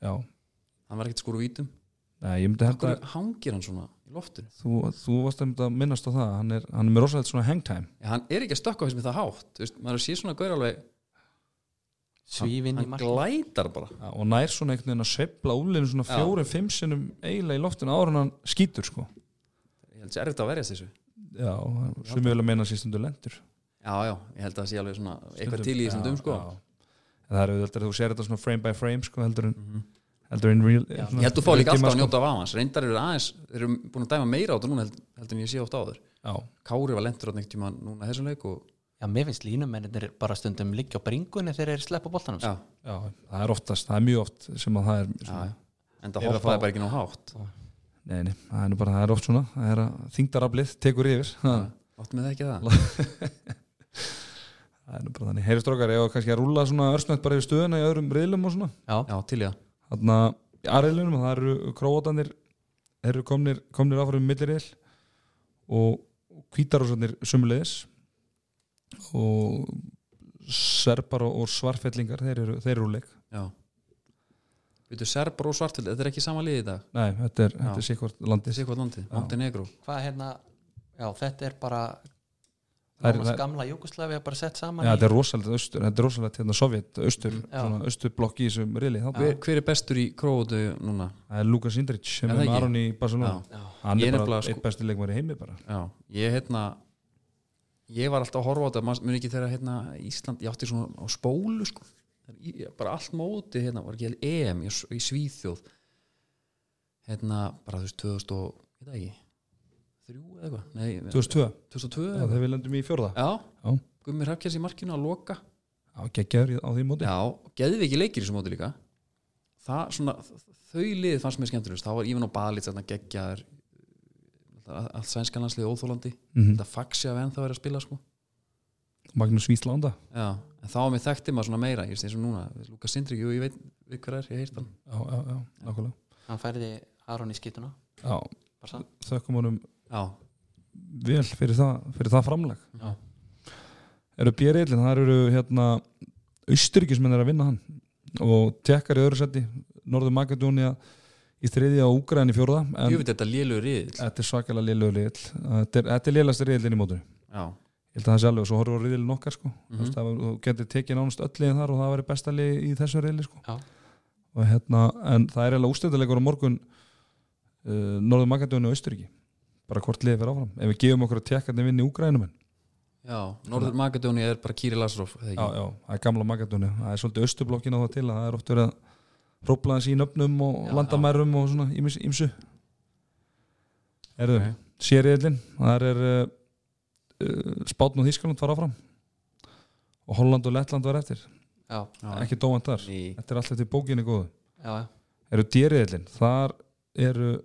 S1: já,
S2: hann var ekkert skúru vítum
S1: Nei, ég myndi held að
S2: hverju hangir hann svona í loftinu
S1: þú, þú varst einmitt að minnast á það hann er, hann er með rosalegt svona hangtime
S2: Já, hann er ekki að stökka þessum það hátt þú veist, maður sé svona gaur alveg
S3: svífinn í
S2: hann
S3: mark
S2: glætar bara
S1: Já, og nær svona einhvern veginn að sveifla úlinu svona
S2: Já.
S1: fjórum, fimm sinnum eiginlega í loftinu ára en hann skýtur sko
S2: ég held að það er eftir að verjast þessu
S1: Já, sem við vilja meina að sístundu lendur
S2: já, já, ég held að það sé alveg svona eitthvað til í þessum dum sko
S1: já. En Það er auðvitað að þú sér þetta svona frame by frame sko, heldur en heldur en real svona,
S2: Mhm.
S1: sko.
S2: ég held að þú fá líka
S1: real tíma,
S2: alltaf að njóta af avans reyndar eru aðeins, þeir eru búin að dæma meira á þetta núna held, heldur en ég sé oft áður
S1: Já,
S2: Kári var lentur á neitt tíma núna þessum leik og
S3: já, mér finnst línumennir bara stundum liggja á bringunni þegar þeir sleppa boltanum sko.
S2: já,
S1: já, það er oftast, það er mjög oft sem að það er
S2: já,
S1: svona,
S2: já. en það
S1: Þeir eru að
S2: hoppaði
S1: fá-
S2: bara ekki nóg hátt
S1: nei, nei, það er nú bara, það er oft svona það er að þingdaraflið tekur yfir það
S2: áttu með það ekki það
S1: La- er nú bara þannig, heyrist okkar eða kannski að rúla svona örstnætt bara yfir stöðuna í öðrum riðlum og svona
S3: já,
S2: já, til í það
S1: þarna í aðreilunum það eru króatanir eru komnir, komnir áfram millireil og hvítarósarnir sumulegis og serbar og, og svarfellingar þeir eru, þeir eru úr leik
S2: já Veitu, Serbar og Svartfjöld, þetta er ekki sama liði í dag
S1: Nei, þetta er, þetta
S2: Já.
S1: er sikkvort
S2: Þetta
S1: landið
S2: er eitthvað landið, Montenegro
S3: hvað hérna já, þetta er bara
S1: Það er-
S3: Nómas
S1: það-
S3: gamla Júkoslavi bara sett
S1: Já,
S3: saman í-
S1: þetta er rosalegt austur, þetta er rosalegt hérna Sovjet, austur,
S3: Já.
S1: svona austurblokk í þessum riðli, þarna.
S2: hver, hver er bestur í Króotu núna?
S1: það er Lukas Indric sem
S2: Er
S1: er
S2: það
S1: með
S2: ekki?
S1: Aron í Barcelona,
S2: Já.
S1: hann
S2: Ég
S1: er
S2: er
S1: bara
S2: nefnilega sko-
S1: eitt besti leikmar í heimi bara,
S2: Já, ég hérna ég var alltaf að horfa á þetta maður muni ekki þegar hérna Ísland, ég átti svona á spólu sko, Í- ég- bara allt móti hérna, var ekki hérna EM í, S- í Svíþjóð hérna, bara þú veist 2000 og, ég veit það ekki eða eitthvað, nei,
S1: 2002,
S2: 2002 eða
S1: þegar við lendum í fjórða
S2: Já,
S1: Já.
S2: Gummi Hrafkjæs í markinu að loka
S1: Já, geggjaður í- á því móti
S2: Já, geðið ekki leikir í þessu móti líka Það, svona, þau liðið fannst mér skemmtilegust þá var Ívan og Balits þarna geggjaður allt sænskan landslið óþólandi
S1: Mhm.
S2: þetta faxi af enn það verið að spila sko
S1: Magnús Víslanda
S2: Já, en þá var mér þekkti maður svona meira, ég veist eins og núna Lukas Sindri, jú, ég veit við hver er, ég heirt hann
S1: Já, já, já, nákvæmlega
S3: hann færði Aron í skýtuna
S1: Já,
S3: bara sann
S1: þökkum honum
S2: Já,
S1: vel fyrir það, fyrir það framlag
S2: Já.
S1: eru björillin, það eru hérna austuríkismenn er að vinna hann og tekkar í öðru seti Norður Makedónia í þriðja og Úgræn í fjórða en
S2: ég veit þetta lélug riðil
S1: þetta er svakalega liðlegu liðl þetta er, þetta er liðlasti riðlinn í mótunni
S2: Já,
S1: ég held að það sé alveg og svo horfum við á riðlinn okkar sko. mm
S2: Mhm.
S1: -hmm. þú getur tekið nánast öll liðin þar og það væri besta lið í þessu riðli sko.
S3: Já.
S1: og hérna en það er eiginlega ústættilegur á morgun uh, Norður Makedónia og Austuríki bara hvort liðið fyrir áfram ef við gefum okkur að tekka þetta vinn í Úgrænum
S2: já, Norður Makedóni er bara Kýri Lasrov
S1: já,
S2: Já,
S1: já, það er gamla Magadóni það er svolítið östublokkin á það til að það er oft verið að hrópla hans í nöfnum og
S3: Já,
S1: landamærum og svona ýmis- ýmsu Erðu,
S2: Ok.
S1: okay. sérriðlin þar er uh, uh, Spátn og Þískaland var áfram og Holland og Lettland var eftir
S3: já,
S2: já,
S1: ekki dómant þar,
S2: Ný.
S1: þetta er alltaf til bókinni góðu
S3: já, já,
S1: eru dýriðlin, þar eru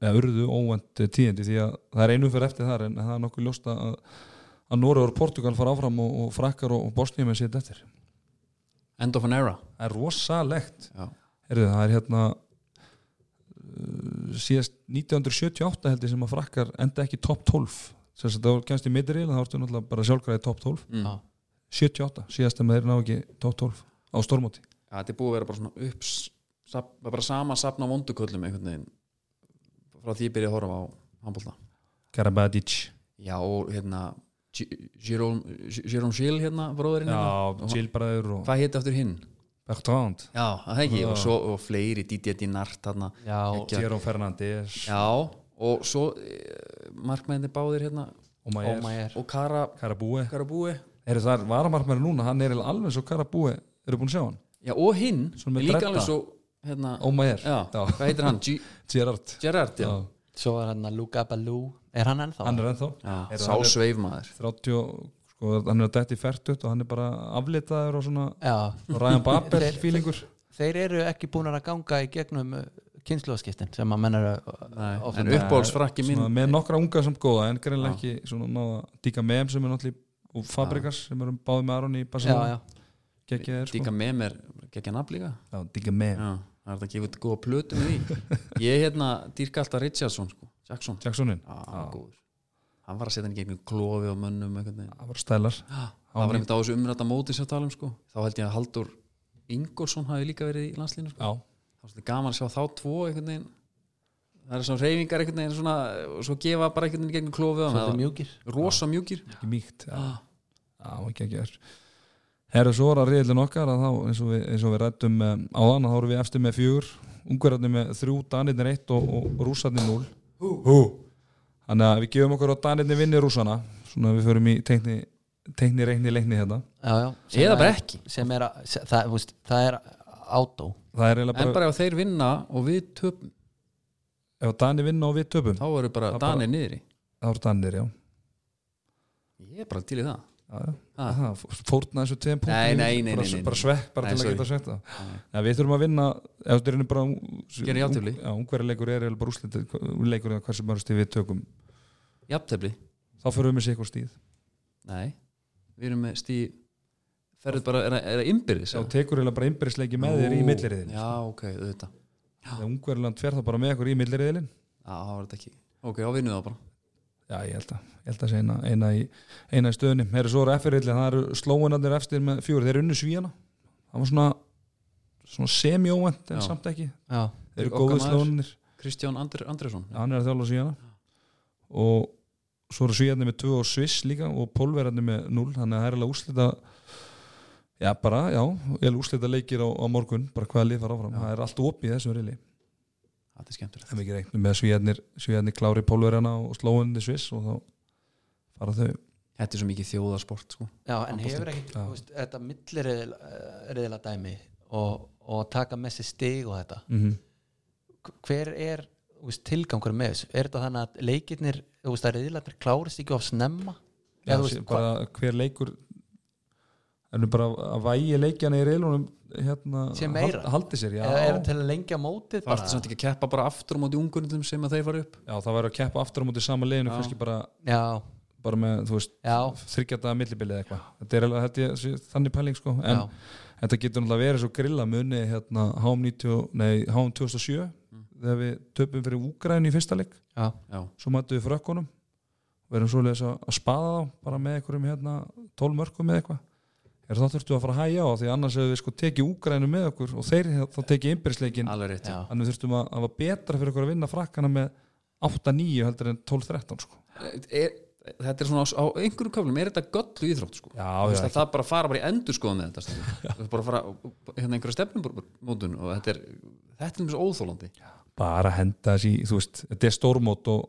S1: eða urðu óvænt tíðindi því að það er einu fyrir eftir þar en það er nokkuð ljóst að, að Norður og Portugal fara áfram og, og frakkar og, og Bosnið með sér eftir
S2: End of an era
S1: Það er rosalegt
S2: Já.
S1: Heyrðu, það er hérna uh, síðast 1978 heldur sem að frakkar enda ekki top 12 sem þess að það var kemst í midril það varstu náttúrulega bara sjálfgræði top 12
S2: mm.
S3: já.
S1: 78, síðast að maður ná ekki top 12 á stormóti
S2: Já, þetta er búið að vera bara svona upps sap, bara sama sapna á vonduköllum einhvern veginn frá því ég byrja að horfa á handbólta
S1: Karabadic
S2: Já, og hérna G- Jérôme Jérôme Schill hérna bróðurinn hérna.
S1: Já, Gilbræður og
S2: Hvað héti aftur hinn?
S1: Bertrand
S2: Já, það ekki,
S1: Já.
S2: og svo og fleiri Didi Dinart þarna
S3: já,
S2: Ekki- Já.
S1: Jerome Fernandes
S2: Já, og svo e, markmæðinni báðir hérna
S1: og
S3: oh
S1: maður
S3: my er
S2: og Kara
S1: Karabúi
S2: Karabúi
S1: Eru þar varamarmæri núna, hann er alveg svo Karabúi eru búin að sjá hann?
S2: Já, og hinn,
S1: Svona með
S2: líka
S1: dredda.
S2: alveg svo hérna,
S1: Ómaður,
S2: já, hvað heitir hann? G
S1: Gerard
S2: Gerard, já,
S3: svo er hann að Luka Balú er hann ennþá?
S1: hann er ennþá
S2: já.
S1: Er
S2: sá
S1: hann-
S2: sveifmaður
S1: 30, og- sko, hann er að detti færtut og hann er bara aflitaður og svona
S3: já,
S1: og Ryan Babel fílingur
S3: þeir eru ekki búin að ganga í gegnum kynnslóðskiptin sem að menn eru uh,
S2: Nei,
S3: ofta
S2: en uppbólsfrakki minn
S1: svona, með nokkra unga samt góða en greinlega ekki svona náða Díka Mem sem er náttúrulega í- og Fabrikas sem erum báði með Aron í
S3: já,
S1: Barcelona
S3: já,
S1: geggjaðir sko
S2: Díka Mem er gekkja nafn líka
S1: Já, Díka Mem
S2: Já, það er þetta að gefa þetta góða plötu með því Ég hérna dýrka alltaf Richardson sko, Jackson,
S1: Jacksonin
S2: já, hann var góður Hann var að setja hann í gegnum klofi og mönnum einhvern veginn.
S1: það var stælar
S2: Það var einmitt á þessu umræta móti sem talum sko Þá held ég að Haldur Ingolson hafi líka verið í landslínu sko.
S1: já
S2: Það var svolítið gaman að sjá þá tvo einhvern veginn Það er svona reyfingar einhvern veginn svona, og svo gefa bara einhvern veginn í gegnum klofi og
S3: svolítið
S2: það
S3: mjúkir
S2: var rosa mjúkir
S1: ekki mýkt já
S2: ah,
S1: það var geggjaðir Herra svo var að reyðlun okkar að þá eins og við, eins og við rættum um, áðan að þá vorum við eftir með fjögur ungverðarnir með þrjú, danirnir eitt og, og rúsarnir núl Hú. Þannig að við gefum okkur á danirnir vinni rúsana svona við förum í teikni, teikni reikni leikni hérna
S3: já, já, sem
S2: Eða
S3: er-
S2: bara ekki
S3: sem er að, sem, það, þú veist, það er átó
S1: Það er eiginlega
S2: En
S1: bara,
S2: bara ef þeir vinna og við töpum
S1: ef danir vinna og við töpum
S2: þá eru bara
S1: Það bara-
S2: danir niðri
S1: þá eru danir, já,
S2: Ég er bara til í það
S1: já, já.
S2: Ah.
S1: Það fó- fórna þessu tveim punktum
S2: Nei, nei, nei,
S1: bara,
S2: nei, nei.
S1: bara svekk, bara
S2: Nei,
S1: til að
S2: sorry.
S1: geta svekk það
S2: Nei.
S1: ja, Við þurfum að vinna ef þetta er einu bara
S2: Gera jafntefli.
S1: Já, ungverja leikur er eiginlega bara úrslitið leikur eða hversu mörgstu við tökum
S2: Jafntefli
S1: þá fyrir við með sikur stíð
S2: Nei, við erum með stíð ferðið bara, er það- er það innbyrðis?
S1: þá
S2: eða?
S1: tekur eiginlega bara innbyrðisleiki með þér í sko.
S2: Ú,
S1: millirriðin
S2: Já, ok, auðvitað
S1: þegar Ungverjaland fer þá bara með okkur í millirriðin
S2: Já, það var þetta ekki Ok, þá vinnum við það bara
S1: já, ég held að, ég held að sé eina, eina, í, eina í stöðunni það eru svo F-riðli, það eru slóinarnir efstir með fjóri, þeir eru unnu svíjana það var svona, svona semi-óvænt en
S2: Já.
S1: samt ekki,
S3: já,
S1: þeir eru
S2: Okkar
S1: góðu
S2: maður.
S1: slóinir
S2: Kristján Andr Andresson
S1: hann er að þjála svíjana og svo eru svíjarnir með 2 og Sviss líka og pólverjarnir með 0 þannig að það er alveg úslita já, bara, já, ég er úslita leikir á, á morgun bara hvaða lið fara áfram, það er allt opið í þessum reyli
S2: Þetta er skemmtilegt
S1: en við reiknum með að svíjarnir, svíjarnir klári pólverjana og slóinni Sviss og þá fara þau
S2: Þetta er svo mikið þjóðarsport sko
S3: já en
S2: Handbolti.
S3: hefur ekki
S1: Já.
S3: þú veist, þetta millirriðla dæmi og, og taka með sér stig og þetta
S1: mm -hmm.
S3: hver er þú veist, tilgangur með þessu er þetta þannig að leikirnir þú veist, að reyðilættir klárist ekki of snemma
S1: Já,
S3: Eða þú
S1: sé-
S3: veist,
S1: bara hver leikur en bara að vægi leikjana í reilunum hérna,
S3: Sé meira.
S1: hal- haldi sér já,
S3: eða er til að lengja mótið
S2: Það ertu samt ekki að keppa bara aftur á móti ungurnum sem að þeir fara upp
S1: já það verður að keppa aftur á móti sama liðinu
S2: Já.
S1: kannski bara,
S3: já,
S1: bara með þú veist
S3: já,
S1: þryggjata millibilið eitthvað þetta er alveg held ég, sé- þannig pæling sko en
S3: já,
S1: þetta getur náttúrulega verið svo grilla muni hérna HM, 90, nei, HM 2007
S3: Mm.
S1: þegar við töpum fyrir Úgræn í fyrsta leik
S3: já,
S2: Já,
S1: svo mættum við frökkunum verðum svoleiðis að, að spaða þá bara með einhverjum hérna 12 mörkum með eitthvað er það þurftum við að fara að hæja á því annars hefur við sko tekið úgrænu með okkur og þeir hef- þá tekið innbyrðisleikin
S2: alveg rétt
S3: já.
S1: þannig við þurftum að það var betra fyrir okkur að vinna frakkana með 8-9 heldur en 12-13 sko.
S2: er, Þetta er svona á, á einhverjum köflum er þetta göllu íþrótt sko
S1: Já,
S2: Þú
S1: já,
S2: veist að það bara fara bara í endurskoðan með þetta stundum. Þú bara fara hérna einhverja stefnumótun og þetta er þetta er mjög óþólandi
S1: bara henda þessi, þú veist, þetta er stórmót og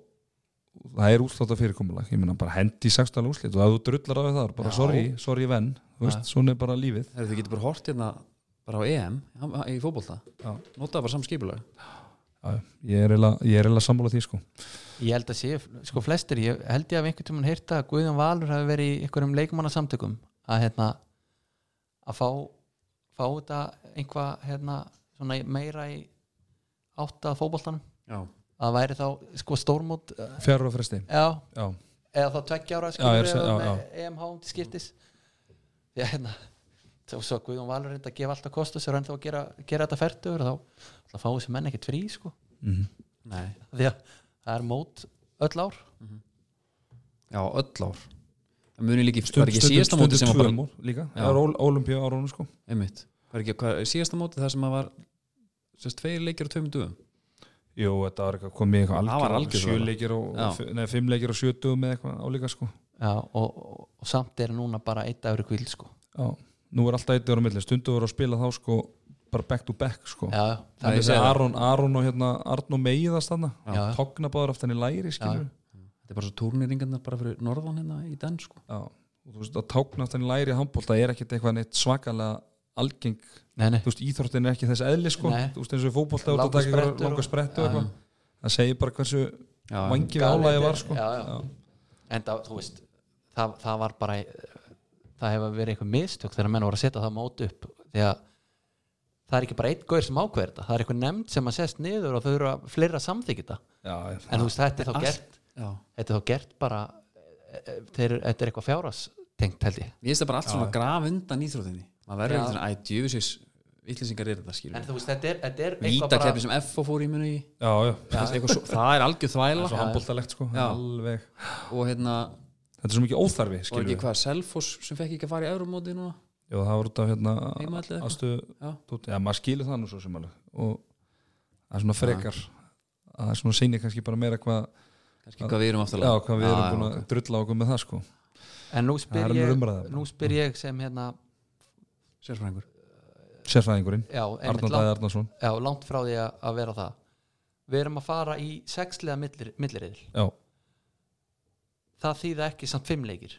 S1: og það er úrsláta fyrirkomulag ég meina bara hendi í sextala úrslit og ef þú drullar af það er bara
S3: Já.
S1: sorry, sorry venn þú
S3: Já.
S1: veist, svona er bara lífið
S2: Þegar þið getur bara hort hérna bara á EM í fótbolta,
S1: Já.
S2: notaði bara samskipulag
S1: Já, já. ég er eiginlega- ég er eiginlega sammála því sko
S3: ég held að sé, sko flestir ég held ég að einhvern tímann heyrta að Guðjón Valur hafi verið í einhverjum leikmannasamtökum að hérna að fá, fá þetta einhvað hérna, svona meira í átta að fótboltanum
S2: Já,
S3: að væri þá sko stórmót eh,
S1: fjárra fresti,
S3: já,
S1: já
S3: eða þá tveggja ára
S1: Já, ég er að
S3: skilur
S1: segja-
S3: eða
S1: já,
S3: með EMH til skiptis því að hérna þá svo Guðjón Valur reynda að gefa alltaf kostu sér og ennþá að gera, gera þetta færtugur þá, þá fá þessi menn ekkert frí sko
S1: mm
S2: nei,
S3: því að það er mót öll ár
S2: já, öll ár Það muni líki,
S1: Stund-
S2: var ekki
S1: stundum-
S2: síðasta móti sem
S1: stundum
S2: var bara
S1: tvö mól líka,
S2: Já.
S1: það er ólimpíu árónu sko
S2: einmitt, var ekki hvað, síðasta móti það sem að var sérst tveir leikir og tveimur dögum
S1: Jú, þetta var eitthvað komið eitthvað
S2: Það var
S1: algjör
S2: algjör
S1: sjö
S2: þvæla.
S1: leikir og,
S2: Já.
S1: f- nei, fimm leikir og sjö dögum með eitthvað álíka sko
S3: já, og, og, og samt er núna bara eitt dagur í kvíl sko
S1: já, nú er alltaf eitthvað á milli stundu voru að spila þá sko bara back to back sko
S3: já, já,
S2: Nei, ég
S1: þannig
S2: segi
S1: að
S2: það.
S1: Aron, Aron og hérna Arn og Meiðast þarna,
S3: Já, já.
S1: togna báður aftan í læri skilur já.
S2: Þetta er bara svo túrnýringarnar bara fyrir norðan hérna í den sko
S1: og þú veist að togna aftan í læri í handbólta er ekkit eitthvað neitt svakalega algeng,
S3: nei, nei,
S1: þú veist íþróttin er ekki þess eðli sko,
S3: Nei.
S1: þú veist eins og fótbólta og það
S3: Langar
S1: ekki
S3: sprettur og-
S1: langa sprettu og
S3: Já.
S1: eitthvað það segir bara hversu
S2: Já,
S1: vangið
S3: Galið
S1: álægi
S3: er-
S1: var sko
S3: já, já. en það, þú veist það, það var bara það hefur verið einhver mistök þegar menn voru að setja það mót upp því að það er ekki bara einn gaur sem ákveður þetta það er einhver nefnd sem að sest niður og þau eru að fleira samþykja þetta
S1: Já, já.
S3: en þú veist þetta er þá
S2: Allt-
S3: gert
S2: Já,
S3: þetta er þá gert bara e, e, þeir, þetta er eitthvað fjárastengt held ég
S2: ég veist það bara allt svona graf undan íþróttinni maður verður
S3: Já.
S2: eitthvað svona, æ, djöfisins vittlýsingar er þetta skilur
S3: en þú veist þetta er, þetta er eitthvað bara
S2: Vítakefni sem FO fór í muni í
S1: já, já.
S2: Þú veist, eitthvað svo- það er algjör þvæla
S1: svo handbóltalegt sko
S2: Já.
S1: alveg
S2: og hérna,
S1: þetta er svo mikið óþarfi
S2: var
S1: skilur
S2: ekki
S1: við
S2: hvað Selfoss sem fekk ekki að fara í Euromóti núna
S1: Jú, það var út af hérna
S2: Heima allir eitthvað.
S1: aðstöðu
S2: Já.
S1: dóti. já, maður skilur það nú svo sem alveg og það er svona frekar það er svona sýnir kannski bara meira hvað
S2: kannski hvað við erum aftur
S1: já, hvað við erum búin að drulla okkur með það sko
S3: en nú
S1: Það
S3: spyr,
S1: er önnur
S3: ég,
S1: umræða.
S3: nú spyr ég sem hérna
S2: sérfræðingur
S1: sérfræðingurinn,
S3: já, einmitt
S1: Arnald
S3: langt,
S1: Æði Arnarsson
S3: já, langt frá því að, að vera það við erum að fara í sexlega millir, milliriðil
S1: já,
S3: það þýða ekki samt fimm leikir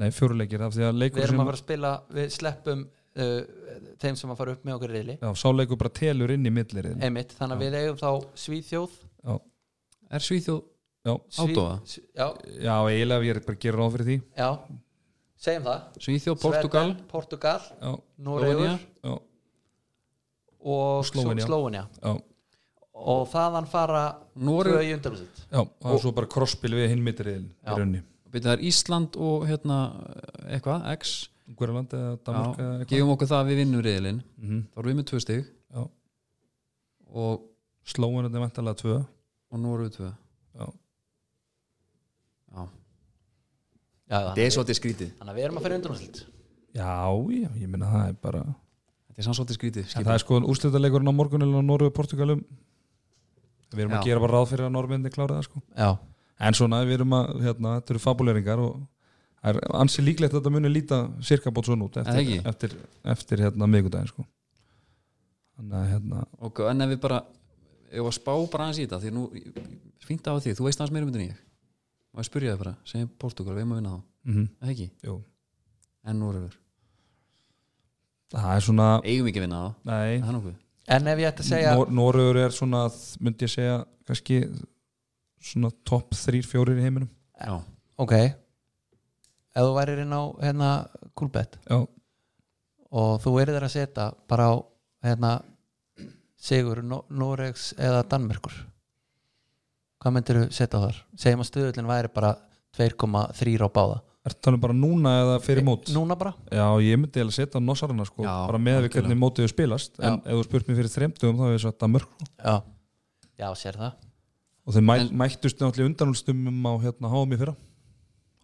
S1: nei, fjóruleikir af því að
S3: við
S1: leikur
S3: erum
S1: sem
S3: að vera að spila, við sleppum uh, þeim sem að fara upp með okkur riðli
S1: já, sáleikur bara telur inn í millirinn
S3: einmitt, þannig að við eigum þá Svíþjóð
S1: já,
S2: er Svíþjóð
S1: já,
S3: Svíð-
S2: Ádofa?
S3: S- já,
S1: já, eiginlega ef ég er bara að gera ráð fyrir því
S3: já, segjum það
S2: Svíþjóð, Portugal,
S3: Sveden, Portugal
S1: já,
S3: Noregur
S1: já,
S3: og
S1: Slóvenía.
S3: Slóvenja
S1: já,
S3: og þaðan fara
S2: Noregur-
S3: tvö í undanúrslit
S1: já, og það er svo bara krosspil við hinn millirinn
S3: Já.
S1: í raunni
S2: byrja það er Ísland og hérna eitthvað, X
S1: Ungarland eða Danmark
S2: Já,
S1: eða eitthvað
S2: gefum okkur það að við vinnum reyðilinn
S1: Mhm.
S2: þá erum við með tvö stig
S1: Já.
S2: og,
S1: Slóan er vantalega tvö
S2: og nú erum við tvö
S1: Já.
S2: Já.
S3: já,
S2: þetta
S3: þannig,
S2: er svolítið skrítið
S3: þannig að við erum að fyrir undanúrslit
S1: Já, já, ég minna það er bara
S2: þetta er samt svolítið skrítið
S1: en það er sko úrslitaleikurinn á morgunilin á Norðu og Portugalum Við erum að
S2: Já.
S1: gera bara ráð fyrir að norðmyndi klára það sko
S3: já,
S1: En svona, við erum að, hérna, þetta eru fabuleringar og það er ansi líklegt að þetta muni líta sirka bótt svona út
S2: Er það
S1: eftir,
S2: ekki?
S1: eftir, eftir hérna miðgudaginn sko Þannig að hérna,
S2: og en ef við bara ef að spá bara aðeins í þetta því nú, fínt á því, þú veist aðeins meira um þetta en ég maður spyrja það bara, segjum Portugal við erum að vinna þá,
S1: mm
S2: Er það ekki
S1: jú
S2: en nú erum við,
S1: Það er svona,
S2: eigum ekki að vinna þá
S1: nei,
S2: það er nokkuð
S3: en ef ég ætti að segja
S1: Nor Noregur er svona, myndi ég segja kannski svona topp 3-4 í heiminum
S2: Já,
S3: ok ef þú værir inn á hérna kúlbett
S1: Já,
S3: og þú erir þar að setja bara á hérna Sigur, Nó- Noregs eða Danmerkur hvað myndirðu setja á þar? segjum að stöðullin væri bara 2,3 á báða Eh,
S1: ertu talað um bara núna eða fyrir mót?
S3: núna bara,
S1: Já, ég myndi eiginlega setja nosarana sko,
S2: Já,
S1: bara með við
S2: algjörlega.
S1: hvernig mótið þau spilast, en ef þú spurt mér fyrir þremtugum þá hefur ég sagt að mörg
S3: já já, sér það,
S1: og þau mæ,
S2: En-
S1: mættust náttúrulega undanúlstumum á hérna háum í fyrra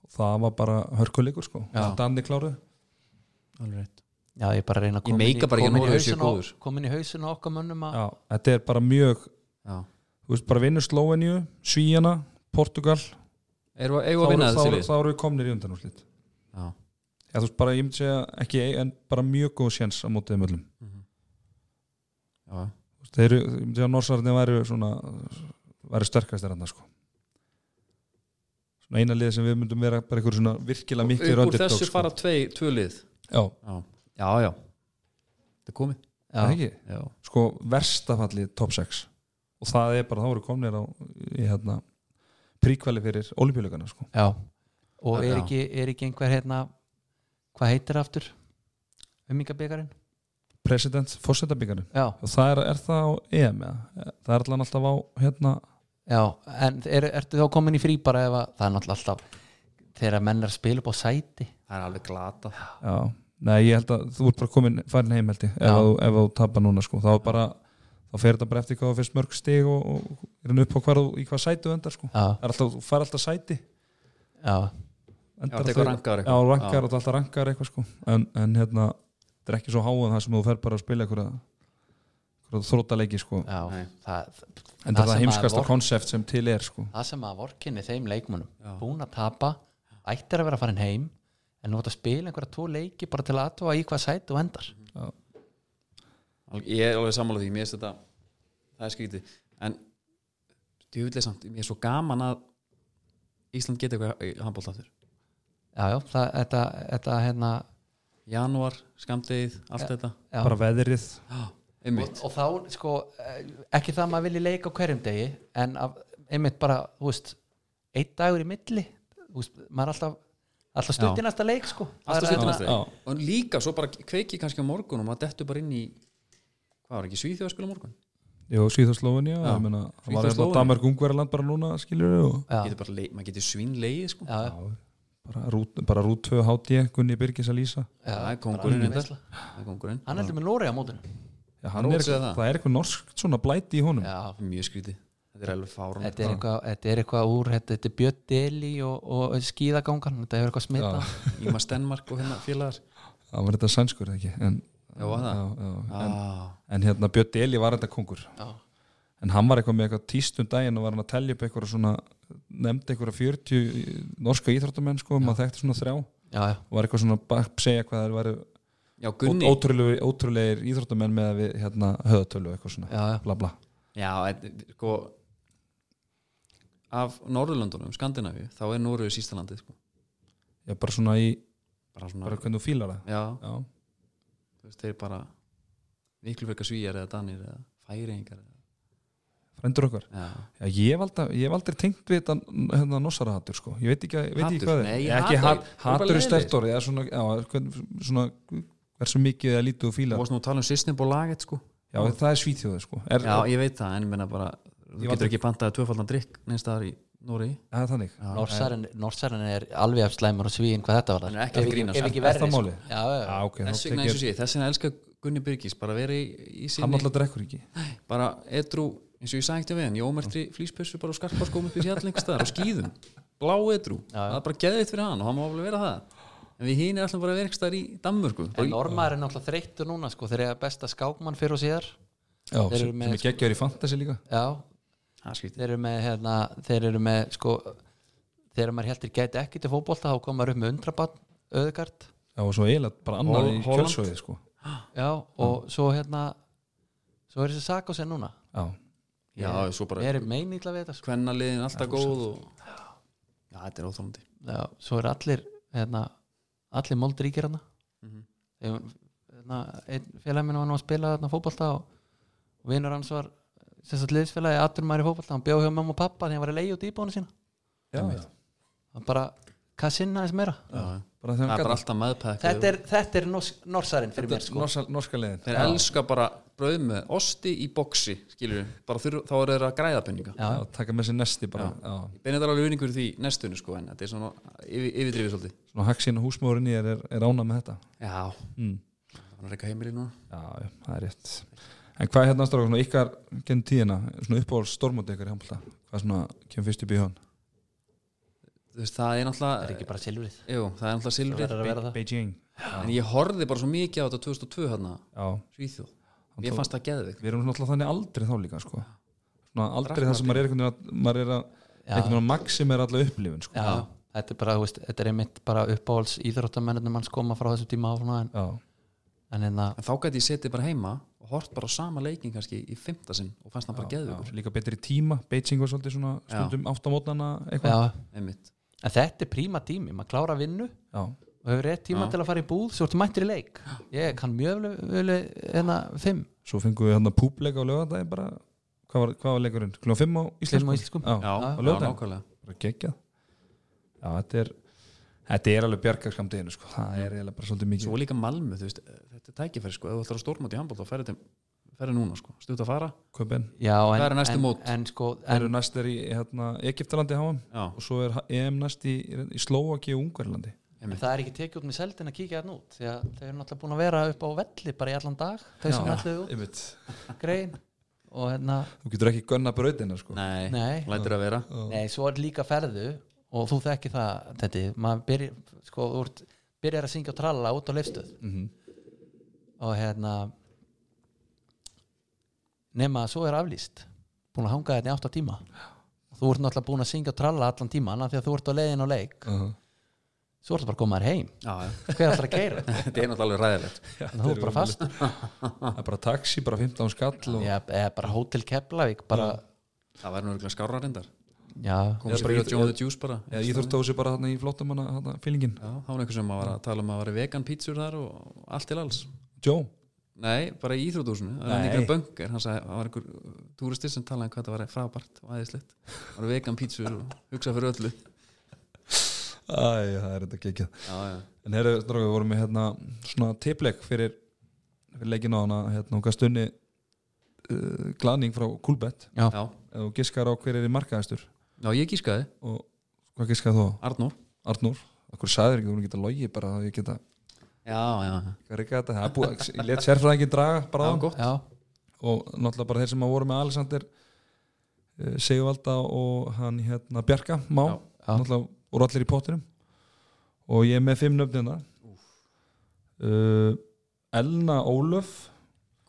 S1: og það var bara hörkuleikur sko,
S2: Já.
S1: danni kláruð
S2: alveg rétt
S3: já ég er bara að reyna að
S2: Ég
S3: koma inn í-
S2: meika bara ekki að
S3: koma inn í
S2: Noregur sé
S3: hausinn á-
S2: góður.
S3: koma inn í hausin á okkar mönnum að
S1: Já, þetta er bara mjög
S2: Já.
S1: þú veist, bara vinnur Slóveníu, Svíjana Portugal,
S2: Erum við
S1: þá
S2: eigum við
S1: eru
S2: að vinna
S1: þá
S2: þessi
S1: eru-
S2: lið?
S1: þá eru við komnir í undanúrslit
S2: Já,
S1: Já, þú veist, bara, ég myndi segja, ekki eig- en bara mjög góð séns á mótið möllum
S2: Mhm. já,
S1: þeir eru, ég myndi segja, Norsarni væri svona væri sterkastir hann sko svona eina lið sem við myndum vera bara einhver svona virkilega mikil
S2: Upp úr þessu fara tvei, tvö lið
S1: sko. Já,
S2: Já, já, já. Þetta er komið
S1: það
S3: já,
S1: ekki
S2: Já,
S1: sko verstafallið top 6 og það er bara, þá eru komnir á í hérna príkvæli fyrir olimpíuleikana sko.
S3: já. og er
S2: Já.
S3: ekki, er ekki einhver hérna hvað heitir aftur ummingabekarinn
S1: president, fósettabíkarinn
S3: já,
S1: og það er, er það á EM eða? það er allan alltaf á hérna
S3: já, en er, ertu þá komin í frí bara ef að það er náttúrulega alltaf þegar menn er að spila upp á sæti
S2: það er alveg glata
S1: já, nei ég held að þú ert bara komin farin heim held ég, ef,
S3: Já.
S1: að þú, ef þú tapar núna sko, þá er bara, þá fer þetta bara eftir hvað þú fyrst mörg stig og, og er hann upp á hvar þú, í hvað sæti þú endar sko Það
S3: já,
S1: er alltaf, þú fær alltaf sæti
S3: já,
S2: Já,
S1: endar
S2: þetta er
S1: alltaf-
S2: eitthvað rankaður
S1: já, rankar og það er alltaf rankar eitthvað sko en, en hérna, þetta er ekki svo háan það sem þú fer bara að spila einhverja einhverja þrótaleiki sko
S3: já
S2: Nei.
S3: það,
S1: en það er það
S3: sem
S1: heimskasta
S3: að vor-
S1: konsept sem til er sko
S3: það sem að vorkinni þeim leikmunum
S2: Já.
S3: búin að tapa, ættir að vera farin heim en nú átt að spila einhverja tvo leiki bara til að aðtóa í hvað sæti og endar
S2: Mhm. Alveg- Ég er alveg sammála því, mér finnst þetta það er skrítið, en djúvillig samt, mér er svo gaman að Ísland geti eitthvað í handbólt aftur
S3: já, já, það, þetta, þetta hérna
S2: Janúar, skamdegið, allt þetta
S3: já.
S1: bara veðrið
S2: Já, einmitt
S3: og, og þá sko eh, ekki það að maður vilji leika á hverjum degi en að, einmitt bara, þú veist einn dagur í milli þú veist, maður er alltaf, alltaf stutt
S2: Já.
S3: í næsta leik sko
S2: Allt og
S3: Það er
S2: stundum
S3: hérna-
S2: að
S1: já.
S2: stegi. og líka svo bara kveiki kannski á morgun og maður dettur bara inn í hvað var ekki, Svíþjóð að spila á morgun
S1: Jú, Svíþjóðslófinja
S2: Já.
S1: ég meina, það var hérna
S2: Svíþjóð-Slóvenía.
S1: Danmark Ungverjaland bara núna skilur við og
S3: Já.
S2: getur bara leið, maður getur svínlegið sko.
S3: Já, já,
S1: bara rút, bara rút 2 HD Gunni Birgis að lýsa
S2: það
S3: já,
S2: er
S3: bara alveg
S2: kongurinn
S3: veisla.
S2: þetta. Það er kongurinn.
S3: hann heldur með Lóri á mótinu
S1: Já,
S2: Rót
S1: hann er,
S2: segja það.
S1: það. það er eitthvað norskt svona blæti í honum
S3: já,
S2: mjög skrítið, þetta er alveg fárun
S3: þetta er eitthvað, þetta er eitthvað úr þetta, þetta er Björn Deli og, og skíðagangan þetta er eitthvað smita
S2: Íma Stenmark og hérna félagar
S1: það var þetta sænskur eða ekki en,
S2: Já, var það?
S1: já, já, en,
S2: ah,
S1: en hérna Björn Deli var þetta kongur
S3: Já.
S1: en hann var eitthvað með eitthvað tístum daginn og var hann að telja upp eitthvað svona nefndi eitthvað 40 norska íþróttamenn sko, maður þekkti svona þrjá og
S3: já, já,
S1: var eitthvað svona bak segja hvað það væri
S2: Já, Gunni
S1: ótrúlegir, ótrúlegir íþróttamenn með að við hérna höðatölu eitthvað svona
S3: já, já,
S1: bla bla
S2: Já, en, sko af Norðurlöndunum, Skandinavíu þá er Nóruðu sísta landið sko.
S1: já, bara svona í,
S2: bara svona,
S1: bara hvernig þú fílar það
S2: já,
S1: já,
S2: þú veist, þeir bara miklu verka svíjar eða danir eða færingar eða,
S1: frendur okkar
S2: já,
S1: já, ég, hef aldrei, ég hef aldrei tengt við þetta hérna nossara hattur sko, ég veit ekki, að- ég veit
S2: Hatur?
S1: ekki hvað það
S2: Nei,
S1: er
S2: ég
S1: Ég ekki hat,
S2: hata- þú er bara
S1: hattur er
S2: leiðilegur.
S1: stert orð já, svona, já, hvern, svona hversu mikið eða lítið þú
S2: þú
S1: fílar
S2: varst nú að tala um system og laget sko.
S1: já, það er svíþjóðu sko er,
S2: já, ég veit það, en ég menna bara þú
S1: Ég valdi-
S2: getur ekki pantaði tvöfaldan drikk neins staðar í Nóri
S1: það er þannig
S3: Norsarinn, Norsarinn er alveg af slæmur og svíin hvað þetta var
S2: Hann er ekki að grínast.
S3: ef ekki
S1: Er það
S3: verri sko.
S1: málið?
S3: já, já,
S1: já,
S3: já,
S1: ok, þá
S2: þess vegna
S1: tek
S2: eins og
S1: ég
S2: sé, þess vegna elskar Gunni Byrgis bara verið í, í
S1: hann
S2: sinni
S1: alltaf drekkur ekki
S2: bara edru, eins og ég sagði ekki við hann jómertri flýspessu bara og skarpar skóm upp í fjall einhvers staðar og skýðum, blá edru það er bara geðið fyrir hann og hann má alveg vera það en við hinn er alltaf bara að vera einhvers staðar í Danmörku
S3: En Normaður er náttúrulega þreyttur núna sko, þeir eru besta skákmann fyrir og síðar
S1: já,
S3: Þeir eru
S1: sem,
S3: með-
S1: sem er geggjör í fantasy líka
S3: Já,
S2: það er skrítið
S3: þeir eru með, hérna, þeir eru með sko, þegar maður heldur gæti ekki til fótbolta þá kom maður upp með undrabann, öðugart
S1: já, og svo eiginlega bara annað
S2: Hol-
S1: í
S2: Holland?
S1: kjölsóði sko
S3: Já, og svo hérna svo er þessi sak á sér núna
S1: já,
S2: já, svo bara
S3: Ég er meinýtla við þetta sko.
S2: kvennaliðin alltaf góð og já, þetta er óþólandi
S3: Já, svo er allir hérna, allir moldríkir hana mm -hmm. hérna, einn félagminn var nú að spila hérna, fótbolta og vinnur hans var sem sagt liðsfélagi aturmæri fótbolta hann bjóð hjá mamma og pappa því hann var að leiða út íbúinu sína
S1: já,
S2: Einmitt.
S1: já.
S3: hann bara, hvað sinna þess meira
S2: Já.
S1: bara þegar
S2: það
S1: hann
S2: er
S1: gat
S2: bara alltaf meðpæk
S3: þetta er, þetta er nors, norsarinn fyrir mér
S1: Þetta er
S3: sko.
S1: norska, norska leiðin
S2: þeir elska bara brauð með osti í boksi skilur við, bara þurr, þá eru þeir að græða penninga
S3: Já.
S1: Já, taka með sér nesti bara já.
S2: Benedar alveg vinningur í því næstunni sko en þetta er svona yfir, yfirdrifið svolítið
S1: svona haksina húsmóðurinn í er, er, er ána með þetta
S2: Já,
S1: mm.
S2: það er eitthvað heimili núna
S1: já, já, það er rétt en hvað er hérna strákur, svona ykkar genn tíðina svona uppáhalds stormóti ykkar í handbolta hvað svona kemur fyrst upp í hön
S2: Þú veist, það er
S3: það er
S2: náttúrulega
S3: ekki bara silfrið
S2: Jú, það er náttúrulega
S3: það
S2: silfrið
S3: verður að vera það
S1: Beijing
S2: en ég horfði bara svo mikið á þetta 2002 hérna
S1: já,
S2: Svíþjóð, mér fannst það geðvik
S1: við erum náttúrulega þannig aldrei þá líka sko. svona aldrei það sem
S2: Raknar
S1: maður er einhvern veginn að maður er að einhvern veginn að maximera alla upplifin sko.
S3: já, þetta er bara, þú veist, þetta er einmitt bara uppáhalds íþróttamennir manns koma frá þessu tíma áfram en,
S1: já,
S3: en hérna,
S2: en þá gæti ég setið bara heima og hort bara á sama leikin kannski í fymta sinn og fannst það bara
S1: já,
S2: geðvikur
S1: líka betri tíma Beijing var svolítið svona stundum áttamótnana
S3: já,
S1: eitthvað
S2: einmitt,
S3: en þetta er príma tími maður klára vinnu
S1: já,
S3: og hefur rétt tíma
S2: Já.
S3: til að fara í búð svo ertu mættir í leik ég kann mjög vel, vel hérna, fimm
S1: svo fengum við hérna públeika á lögadagi bara hvað var, hvað var leikurinn? Kljóðan 5 á
S3: Fimm á
S1: íslensku?
S3: íslenskum.
S1: Já,
S2: já,
S1: á
S2: já,
S1: laugardaginn.
S2: nákvæmlega
S1: bara geggjað já, þetta er þetta er alveg bjargarskamdeginu sko. það er eiginlega bara svolítið mikið
S2: svo líka Malmö, þú veist, þetta er tækifæri sko, ef þú ætlar að stórmátt í handbólt þá ferði, ferði núna sko, stutt að fara
S1: Köpen,
S3: já, en,
S2: Það eru næstu
S3: en,
S2: mót.
S3: en sko,
S1: þeir eru
S3: en,
S1: næst er í hérna, Egiptalandi háum
S2: já,
S1: og svo er EM næst í, í Slovaki og Ungarlandi
S3: en það er ekki tekið út með seldin að kíkja þarna út því að þau eru náttúrulega búin að vera upp á velli bara í allan dag, þau sem ætluðu út
S1: einmitt.
S3: grein og hérna,
S1: þú getur ekki gönna brautina sko.
S2: nei,
S3: nei,
S2: lætur að vera
S3: nei svo er líka ferðu og þú þekki það, þetta maður byrjar, sko, þú ert, byrjar að syngja og tralla út á leifstöð
S1: mm -hmm.
S3: og hérna nema að svo er aflýst búin að hanga þetta í átta tíma og þú ert náttúrulega búin að syngja og tralla allan tíman af því að þú ert á leiðin á leik
S1: uh -huh.
S3: svo ertu bara að koma þér heim
S2: já, já.
S3: hver ætlar að keira,
S2: þetta er náttúrulega alveg ræðilegt
S3: en þú ert bara fast
S1: það er bara taxi, bara 15 skall og...
S3: Já, eða bara hótel Keflavík bara,
S2: það væri nú örgulega skárra reyndar
S3: já,
S1: Eða
S2: komið
S1: bara
S2: sér í
S1: í-
S2: að John the Juice bara
S1: eða ég þurfti á þessu bara þarna í flottum hana, hana fílingin,
S2: já, þá var einhver sem að var að tala um að vera vegan pítsur þar og allt til alls
S1: Joe
S2: Nei, bara í Íþrótúsinu, það er
S1: Nei.
S2: einhverja böngar hann sagði, það var einhver túristir sem talaði um hvað það var frábært og aðeinslegt það var vegan pítsur og hugsa fyrir öllu
S1: Æ, það er þetta geggjað
S2: já, já.
S1: En herru, strákur, við vorum með hérna svona tipleik fyrir, fyrir leikin á hana hérna og gast unni uh, glaning frá Kulbett
S2: Já.
S1: Ef þú giskar á hver er í markaðistur
S2: já, ég gískaði,
S1: og hvað giskar þú á?
S2: Arnór
S1: Arnur? Akkur sæður ekki, þú voru geta logið bara að ég geta
S2: Já, já,
S1: hvað reyka þetta, það er búið, ég let sérfræðingin draga bara á
S2: já, gott
S3: já,
S1: og náttúrulega bara þeir sem að voru með Alexander uh, Sigvalda og hann hérna Bjarka, Má
S2: Já,
S3: já.
S1: náttúrulega voru allir í pottinum og ég er með fimm nöfnina uh, Elna Ólöf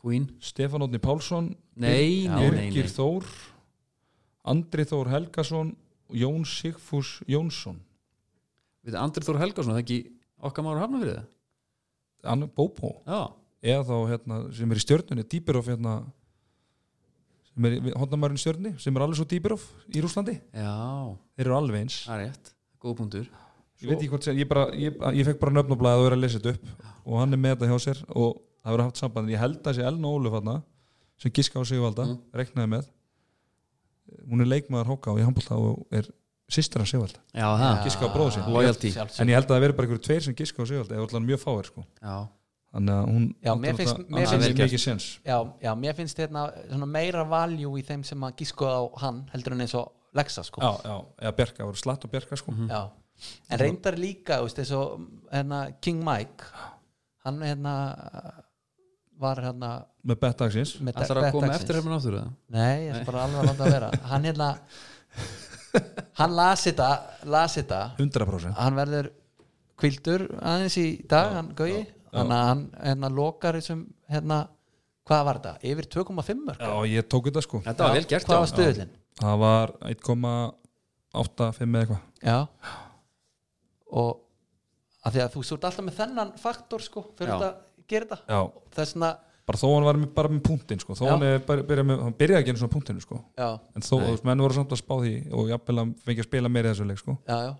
S2: Queen,
S1: Stefán Ótni Pálsson
S2: nei,
S3: Já.
S2: nei, nei, nei.
S1: Birgir Þór Andri Þór Helgason og Jón Sigfús Jónsson
S2: Við þið, Andri Þór Helgason, það er ekki okkar maður hafna fyrir það
S1: Anna Bóbó
S2: Já,
S1: eða þá hérna sem er í stjörnunni Dýbirof hérna sem er hóndamærin stjörnunni sem er alveg svo Dýbirof í Rúslandi
S2: já,
S1: þeir eru alveg eins
S2: það er rétt, góð punktur
S1: ég veit ekki hvort sem ég, bara, ég, ég fekk bara nöfnablaðið og er að lesa þetta upp og hann er með þetta hjá sér og það verður haft samband ég held að sé Elna Óluf hann sem giska á Sigvalda,
S2: Mm.
S1: reknaði með hún er leikmaður hóka og ég handbólta og er sýstir af Sigvalda
S2: Já, það,
S1: Giska á bróður sinn.
S2: Loyalty.
S3: Sjálfsögðu.
S1: en ég held að það verður bara einhverju tveir sem giska á Sigvalda eða allan mjög fáir sko
S2: já,
S1: þannig að hún
S3: Já, mér finnst- mér
S1: mér
S2: finnst-
S1: finnst mikið sens
S3: já, já, mér finnst hérna svona meira valjú í þeim sem að gísku á hann heldur en eins og Lexa sko
S1: já, já, eða Bjarka, voru slatt og Bjarka sko
S2: Mhm.
S3: Já. en reyndar líka þú veist, eins og hérna, King Mike hann hérna var hérna
S1: með bettagsins
S3: með
S2: ætlar að koma
S3: Bettaxins.
S2: eftir hérna? hefnum náttúru það
S3: Nei, ég er bara alveg að láta að vera Hann hérna Hann las þetta, las þetta
S1: 100%
S3: Hann verður kvildur aðeins í dag Hann gauði Þannig að hann hérna, lokar þessum hérna, Hvað var þetta? Yfir 2,5 mörg
S1: já, ég tók þetta sko
S2: Þetta var vel gert,
S3: Hvað var
S2: já,
S3: stöðlinn?
S1: það var 1,85 eða eitthvað
S3: Já Og að Því að þú svo ert alltaf með þennan faktor sko, Fyrir
S2: Já.
S3: þetta að gera þetta
S1: já,
S3: Þessna,
S1: bara þó hann var með, bara með punktin sko. þó
S3: Já.
S1: hann er bara- byrjaði með, hann byrjaði ekki einu svona punktinu sko.
S3: já,
S1: en þó, þú veist, menn voru samt að spá því og jafnvel að fengi að spila meira í þessu leik sko.
S3: já, já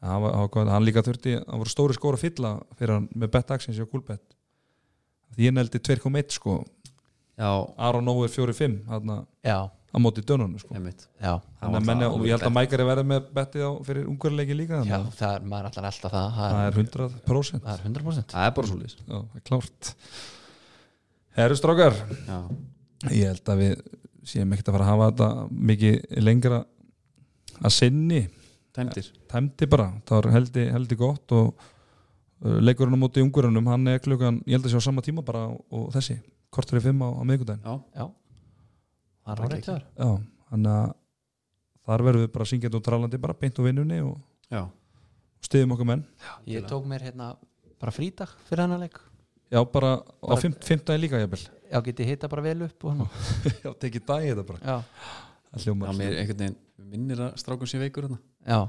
S1: En hann, var, hann, var, góð- hann líka þurfti, hann voru stóri skóra fylla fyrir hann með betta aksins hjá Gulbett því ég neldi 2,1 sko.
S2: Já, já,
S1: Aron Nói er 4-5 þarna
S3: já,
S1: á móti dönunum sko.
S2: einmitt
S3: já
S1: Þannig að menja, og ég held að Mækari verði með bettið á fyrir ungverðileiki líka
S3: Já,
S1: þannig að
S3: það er, maður er alltaf alltaf það
S1: það er 100%
S3: það er 100%
S2: það er bara svo
S1: Já, það er klárt Herru strókar
S2: já,
S1: ég held að við séum ekkert að fara að hafa þetta mikið lengra að sinni
S2: tæmdir
S1: tæmdi bara, það var heldi, heldi gott og uh, leikurinn á móti ungurunum hann er klukkan, ég held að sé á sama tíma bara og, og þessi, kortur í fimm á, á miðgudaginn
S2: já,
S3: Já, það er hórið tjóður
S1: já, þannig að þar verðum við bara syngjandi og trallandi bara beint úr vinnunni og
S2: já,
S1: stiðum okkar menn
S3: Ég tók mér hérna bara frídag fyrir hennar leik
S1: já, bara á
S3: Bara-
S1: fimm, fimmtaginn líka jafnvel
S3: Já, get ég hita bara vel upp og hann
S1: já, tekið dagið þetta bara
S3: Já,
S1: það hljómar
S2: já mér einhvern veginn minnir að strákum sé veikur þarna
S3: já,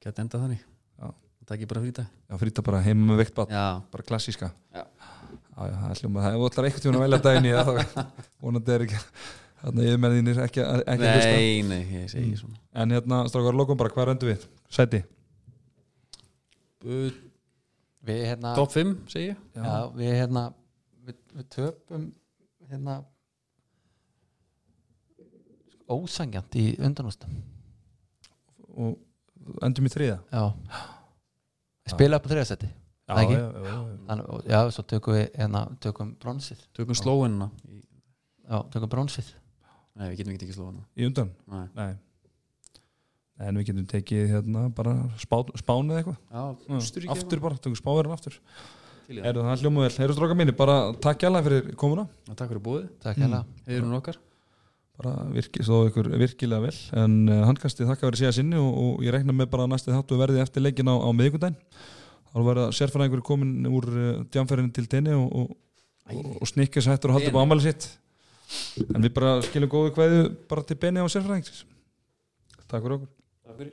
S2: geti endað þannig
S1: Já.
S2: það ekki bara frýta
S1: já, frýta bara heima með veikt bát
S2: já,
S1: bara klassíska
S2: Já.
S1: Já, já, það er hljóma, það er allar eitthvað tíma að velja daginn í það þá vonandi er ekki þannig að yfirmenninir ekki, ekki að hlusta
S2: nei, nei, ég segi ekki svona
S1: en hérna, strákar, lokum bara, hvað rendu við? Sæti?
S2: uh,
S3: við hérna
S2: top 5 segi ég
S3: Já, við hérna við, við töpum hérna ósangjant í undanústum
S1: og endum í þriða
S3: Já Spila upp á þriðasetti Það ekki?
S1: já, já, já.
S3: Þannig- og- Já, svo tökum við hérna, tökum bronsið
S2: tökum slóinna í...
S3: Já, tökum bronsið
S2: nei, við getum ekki ekki slóinna
S1: í undan?
S2: já,
S1: Nei en við getum tekið hérna bara spá, spán eða eitthvað
S2: Austurríki
S1: aftur bara, tökum spáverðin aftur
S2: eitthvað til í það.
S1: eru það hljóma vel, eru strákar mínir, bara takk jæla fyrir komuna,
S2: Já, takk fyrir búið,
S3: Takk hérna
S2: hefur hún okkar
S1: bara virki, stóðu ykkur virkilega vel, en uh, handkastið þakka verið síðan sinni og, og ég rekna með bara að næsti þáttu verði eftir leikin á, á miðvikudaginn þá verða sérfæðingur komin úr uh, djamferðin til tenni og, og, og, og snikkis hættur að halda upp á ámæli sitt en við bara skiljum góðu kveðu bara til benni á sérfæðing takk fyrir okkur
S2: takk fyrir